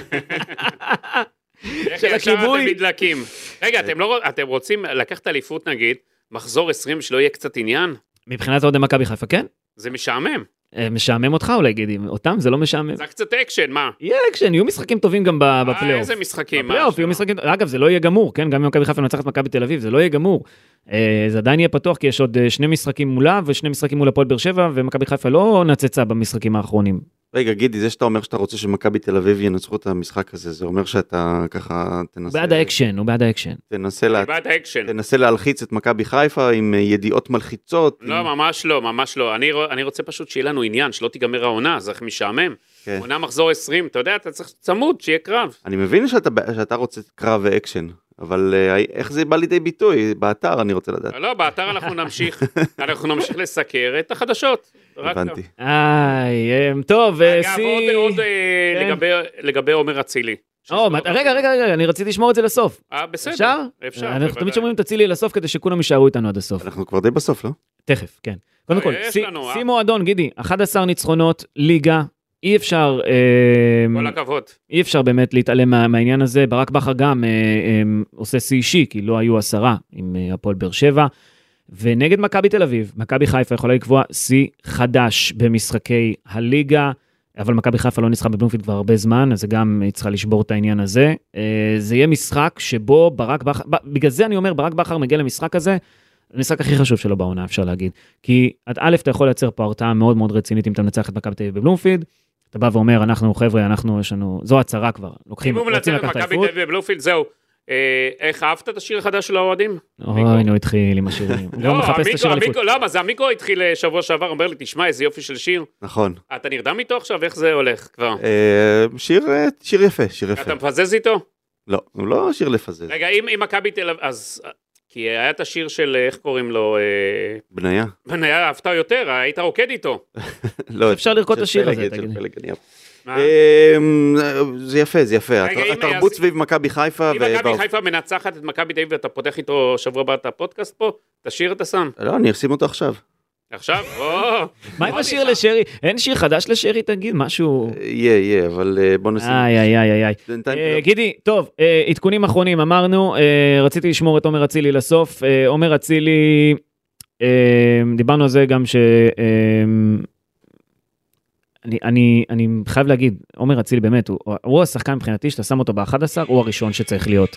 Speaker 4: איך
Speaker 2: של
Speaker 4: ישר
Speaker 2: הכיבוי.
Speaker 4: אתם נדלקים. רגע, אתם לא רוצ- אתם רוצים לקחת אליפות נגיד, מחזור 20 שלא יהיה קצת עניין?
Speaker 2: מבחינת אוהדי מכבי חיפה, כן?
Speaker 4: זה משעמם.
Speaker 2: אה, משעמם אותך אולי, גידי, אותם זה לא משעמם.
Speaker 4: צריך קצת אקשן, מה?
Speaker 2: יהיה אקשן, יהיו משחקים טובים גם ב-
Speaker 4: אה,
Speaker 2: בפלייאוף.
Speaker 4: איזה משחקים. מה?
Speaker 2: בפלייאוף יהיו משחקים, אגב זה לא יהיה גמור, כן? גם אם מכבי חיפה מנצחת את מכבי תל אביב, זה לא יהיה גמור. אה, זה עדיין יהיה פתוח כי יש עוד אה, שני משחקים מולה ושני משחקים מול הפועל באר שבע, ומכבי חיפה לא נצצה במשחקים האחרונים.
Speaker 3: רגע, גידי, זה שאתה אומר שאתה רוצה שמכבי תל אביב ינצחו את המשחק הזה, זה אומר שאתה ככה
Speaker 2: הוא
Speaker 3: תנסה...
Speaker 2: בעד האקשן, הוא בעד האקשן.
Speaker 3: תנסה, לה...
Speaker 4: אני בעד האקשן.
Speaker 3: תנסה להלחיץ את מכבי חיפה עם אה, ידיעות מלחיצות.
Speaker 4: לא,
Speaker 3: עם...
Speaker 4: ממש לא, ממש לא. אני, רוא- אני רוצה פשוט שיהיה לנו עניין, שלא תיגמר העונה, זה הכי משעמם.
Speaker 3: כן.
Speaker 4: עונה מחזור 20, אתה יודע, אתה צריך צמוד, שיהיה קרב.
Speaker 3: אני מבין שאתה, בע- שאתה רוצה קרב ואקשן, אבל אה, איך זה בא לידי ביטוי? באתר אני רוצה לדעת.
Speaker 4: לא, באתר אנחנו נמשיך, אנחנו נמשיך לסקר את החדשות. רק-
Speaker 3: הבנתי.
Speaker 2: איי, אה, טוב, אה,
Speaker 4: אגב, עוד, עוד אה,
Speaker 2: כן.
Speaker 4: לגבי- לגבי עומר אצילי.
Speaker 2: או, מה- רגע, רגע, רגע, אני רציתי לשמור את זה לסוף.
Speaker 4: אה, בסדר.
Speaker 2: אפשר?
Speaker 4: אפשר.
Speaker 2: אנחנו
Speaker 4: בוודאי.
Speaker 2: תמיד שומרים תצילי לסוף כדי שכולם יישארו איתנו עד הסוף.
Speaker 3: אנחנו כבר די בסוף, לא?
Speaker 2: תכף, כן. קודם כל,
Speaker 4: יש
Speaker 2: שיא-
Speaker 4: לנו, אה?
Speaker 2: שיא מועדון, גידי, 11 ניצחונות, ליגה, אי אפשר... אה,
Speaker 4: כל הכבוד.
Speaker 2: אי אפשר באמת להתעלם מה, מהעניין הזה. ברק בכר גם אה, אה, עושה שיא אישי, כי לא היו עשרה עם אה, הפועל באר שבע. ונגד מכבי תל אביב, מכבי חיפה יכולה לקבוע שיא חדש במשחקי הליגה, אבל מכבי חיפה לא ניצחה בבלומפילד כבר הרבה זמן, אז זה גם היא צריכה לשבור את העניין הזה. אה, זה יהיה משחק שבו ברק בכר, ב- בגלל זה אני אומר, ברק בכר מגיע למשחק הזה, המשחק הכי חשוב שלו בעונה, אפשר להגיד. כי עד א', אתה יכול לייצר פה הרתעה מאוד מאוד רצינית אם אתה מנצח את מכבי תל אביב בבלומפילד. אתה בא ואומר, אנחנו חבר'ה, אנחנו, יש לנו, זו הצהרה כבר,
Speaker 4: אם
Speaker 2: לוקחים,
Speaker 4: הוא מנצח
Speaker 2: רוצים
Speaker 4: את
Speaker 2: לקחת
Speaker 4: מכבי
Speaker 2: אליפות.
Speaker 4: תל אביב בבלומפילד, זהו. אה, איך אהבת את השיר החדש של האוהדים?
Speaker 2: אוי, נו, הוא התחיל עם השירים. הוא גם לא, מחפש את
Speaker 4: המיקרו,
Speaker 2: השיר אליפות.
Speaker 4: המיקרו, למה? זה המיקרו התחיל אה, שבוע שעבר, אומר לי, תשמע, איזה יופי של שיר.
Speaker 3: נכון.
Speaker 4: אתה נרדם איתו עכשיו? איך זה הולך כבר?
Speaker 3: אה, שיר, אה, שיר יפה, שיר יפה.
Speaker 4: אתה מפזז איתו?
Speaker 3: לא, הוא לא שיר לפזז,
Speaker 4: רגע, אם אם מכבי תל אביב, אז... כי היה את השיר של, אה, איך קוראים לו? אה,
Speaker 3: בניה.
Speaker 4: בניה אהבת יותר, היית רוקד איתו.
Speaker 3: לא,
Speaker 2: אפשר לרקוד את
Speaker 3: של
Speaker 2: השיר הזה,
Speaker 3: פלג, של
Speaker 2: תגיד לי.
Speaker 3: פלג, אני-
Speaker 4: מה?
Speaker 3: אה, זה יפה, זה יפה.
Speaker 4: רגע,
Speaker 3: הת-
Speaker 4: אם-
Speaker 3: התרבות
Speaker 4: אז-
Speaker 3: סביב מכבי חיפה.
Speaker 4: אם
Speaker 3: ו-
Speaker 4: מכבי חיפה מנצחת את מכבי תל אביב ואתה פותח איתו שבוע הבא את הפודקאסט פה, את השיר אתה שם.
Speaker 3: לא, אני אשים אותו עכשיו.
Speaker 4: עכשיו? או,
Speaker 2: מה עם
Speaker 4: עוד
Speaker 2: השיר
Speaker 4: אישה.
Speaker 2: לשרי? אין שיר חדש לשרי, תגיד, משהו...
Speaker 3: יהיה, יהיה, אבל אה, בוא נשים.
Speaker 2: איי, איי, איי, איי, איי.
Speaker 3: בינתיים-
Speaker 2: אה, גידי, טוב, אה, עדכונים אחרונים אמרנו, אה, רציתי לשמור את עומר אצילי לסוף. אה, עומר אצילי, אה, דיברנו על זה גם ש... אה, אני, אני, אני חייב להגיד, עומר אצילי באמת, הוא, הוא השחקן מבחינתי, שאתה שם אותו ב-11, הוא הראשון שצריך להיות.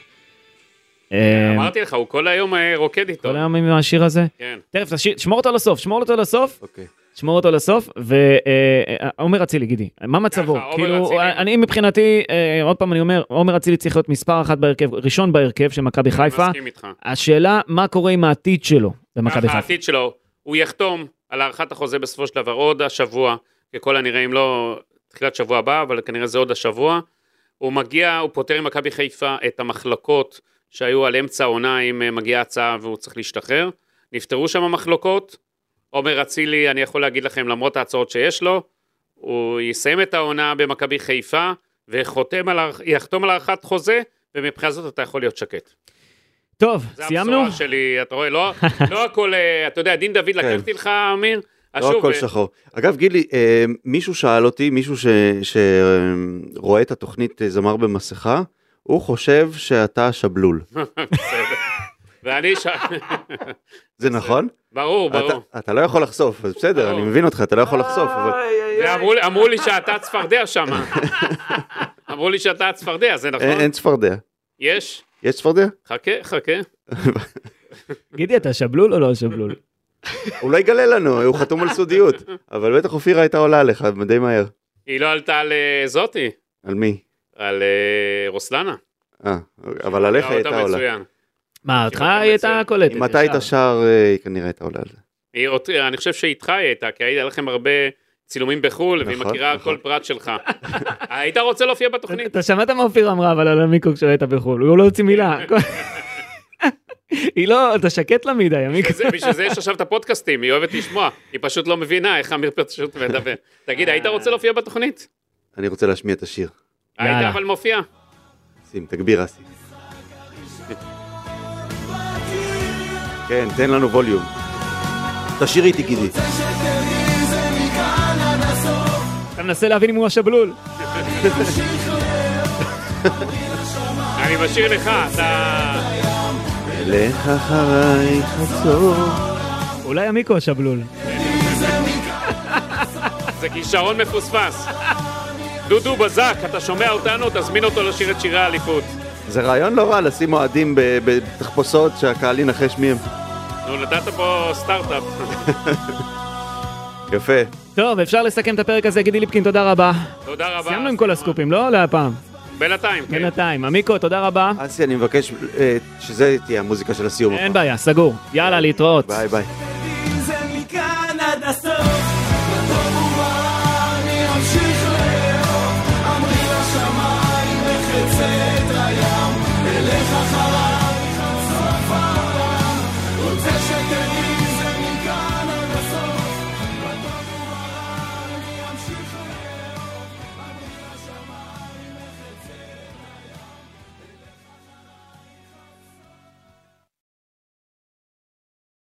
Speaker 2: אה,
Speaker 4: אמרתי לך, הוא כל היום אה, רוקד איתו.
Speaker 2: כל היום עם השיר הזה?
Speaker 4: כן.
Speaker 2: תכף, תשאיר- תשמור אותו לסוף, שמור אותו לסוף.
Speaker 3: אוקיי.
Speaker 2: שמור אותו לסוף, אה, ועומר אצילי, גידי, מה מצבו?
Speaker 4: ככה, עומר
Speaker 2: כאילו,
Speaker 4: אצילי-
Speaker 2: אני מבחינתי, אה, עוד פעם אני אומר, עומר אצילי צריך להיות מספר אחת בהרכב, ראשון בהרכב של מכבי חיפה.
Speaker 4: מסכים איתך.
Speaker 2: השאלה, מה קורה עם העתיד שלו במכבי
Speaker 4: ככה
Speaker 2: חיפה?
Speaker 4: העתיד שלו, הוא יחתום על הארכת החוזה בסופו של דבר עוד השבוע, ככל הנראה אם לא תחילת שבוע הבא, אבל כנראה זה עוד השבוע. הוא מגיע, הוא פותר עם מכבי חיפה את המחלוקות שהיו על אמצע העונה אם אה, מגיעה הצעה והוא צריך להשתחרר. נפתרו שם המחלוקות. עומר אצילי, אני יכול להגיד לכם, למרות ההצעות שיש לו, הוא יסיים את העונה במכבי חיפה וחותם על, הארכ- יחתום על הארכת חוזה, ומבחינה זאת אתה יכול להיות שקט.
Speaker 2: טוב,
Speaker 4: זה
Speaker 2: סיימנו?
Speaker 4: הבשורה שלי, אתה רואה, לא, לא הכל, אה, אתה יודע, דין דוד לקחתי לך, אמיר, אז
Speaker 3: כן. לא
Speaker 4: שוב,
Speaker 3: הכל
Speaker 4: אה,
Speaker 3: שחור. אגב, גילי, אה, מישהו שאל אותי, מישהו שרואה את התוכנית אה, זמר במסכה, הוא חושב שאתה שבלול.
Speaker 4: ואני ש...
Speaker 3: זה נכון?
Speaker 4: ברור, ברור.
Speaker 3: אתה- אתה לא יכול לחשוף, אז בסדר,
Speaker 4: ברור. אה,
Speaker 3: אני מבין אותך, אתה לא יכול לחשוף, אבל
Speaker 4: ואמרו לי- אמרו לי שאתה צפרדע שם. אמרו לי שאתה צפרדע, זה נכון?
Speaker 3: אין אין צפרדע.
Speaker 4: יש?
Speaker 3: יש צפרדע?
Speaker 4: חכה, חכה.
Speaker 2: גידי, אתה שבלול או לא שבלול?
Speaker 3: הוא לא יגלה לנו, הוא חתום על סודיות. אבל בטח אופירה הייתה עולה עליך די מהר.
Speaker 4: היא לא עלתה על אה, זאתי,
Speaker 3: על מי?
Speaker 4: על אה, רוסלנה.
Speaker 3: אה, אבל עליך היא
Speaker 4: אותה
Speaker 3: הייתה עולה.
Speaker 4: מצוין.
Speaker 2: מה, אותך
Speaker 4: אותך היא
Speaker 2: היא הייתה
Speaker 4: מצוין.
Speaker 2: קולטת.
Speaker 3: אם אתה היית
Speaker 2: ישר.
Speaker 3: שר, אה, היא כנראה הייתה עולה על זה.
Speaker 4: היא אות- אני חושב שאיתך היא הייתה, כי היה לכם הרבה צילומים בחו"ל, והיא
Speaker 3: נכון,
Speaker 4: מכירה
Speaker 3: נכון.
Speaker 4: כל פרט שלך. היית רוצה להופיע בתוכנית?
Speaker 2: אתה שמעת מה אופיר אמרה, אבל על המיקרו כשהוא הייתה בחו"ל, הוא לא הוציא מילה. היא לא, אתה שקט לה מדי, המיקרו.
Speaker 4: זה- בשביל זה יש עכשיו את הפודקאסטים, היא אוהבת לשמוע, היא פשוט לא מבינה איך אמיר פשוט מדבר. תגיד, היית רוצה להופיע בתוכנית?
Speaker 3: אני רוצה להשמיע את השיר.
Speaker 4: היית
Speaker 2: יאללה.
Speaker 4: אבל מופיע?
Speaker 3: שים, תגביר אסי. כן, תן לנו ווליום. תשאיר איתי גידי.
Speaker 2: אתה מנסה להבין אם הוא השבלול.
Speaker 4: אני משאיר לך, אתה...
Speaker 3: לך אחריי חצור.
Speaker 2: אולי המיקרו השבלול.
Speaker 4: זה כישרון מפוספס. דודו בזק, אתה שומע אותנו? תזמין אותו לשיר את שירי האליפות.
Speaker 3: זה רעיון לא רע לשים אוהדים ב- בתחפושות שהקהל ינחש מי הם.
Speaker 4: נו, נתת פה סטארט-אפ.
Speaker 3: יפה.
Speaker 2: טוב, אפשר לסכם את הפרק הזה, גידי ליפקין, תודה רבה.
Speaker 4: תודה רבה.
Speaker 2: סיימנו עם כל הסקופים, לא? להפעם.
Speaker 4: בינתיים, כן.
Speaker 2: בינתיים. עמיקו, תודה רבה.
Speaker 3: אסי, אני מבקש אה, שזה תהיה המוזיקה של הסיום.
Speaker 2: אין בעיה, סגור. יאללה, להתראות.
Speaker 3: ביי ביי.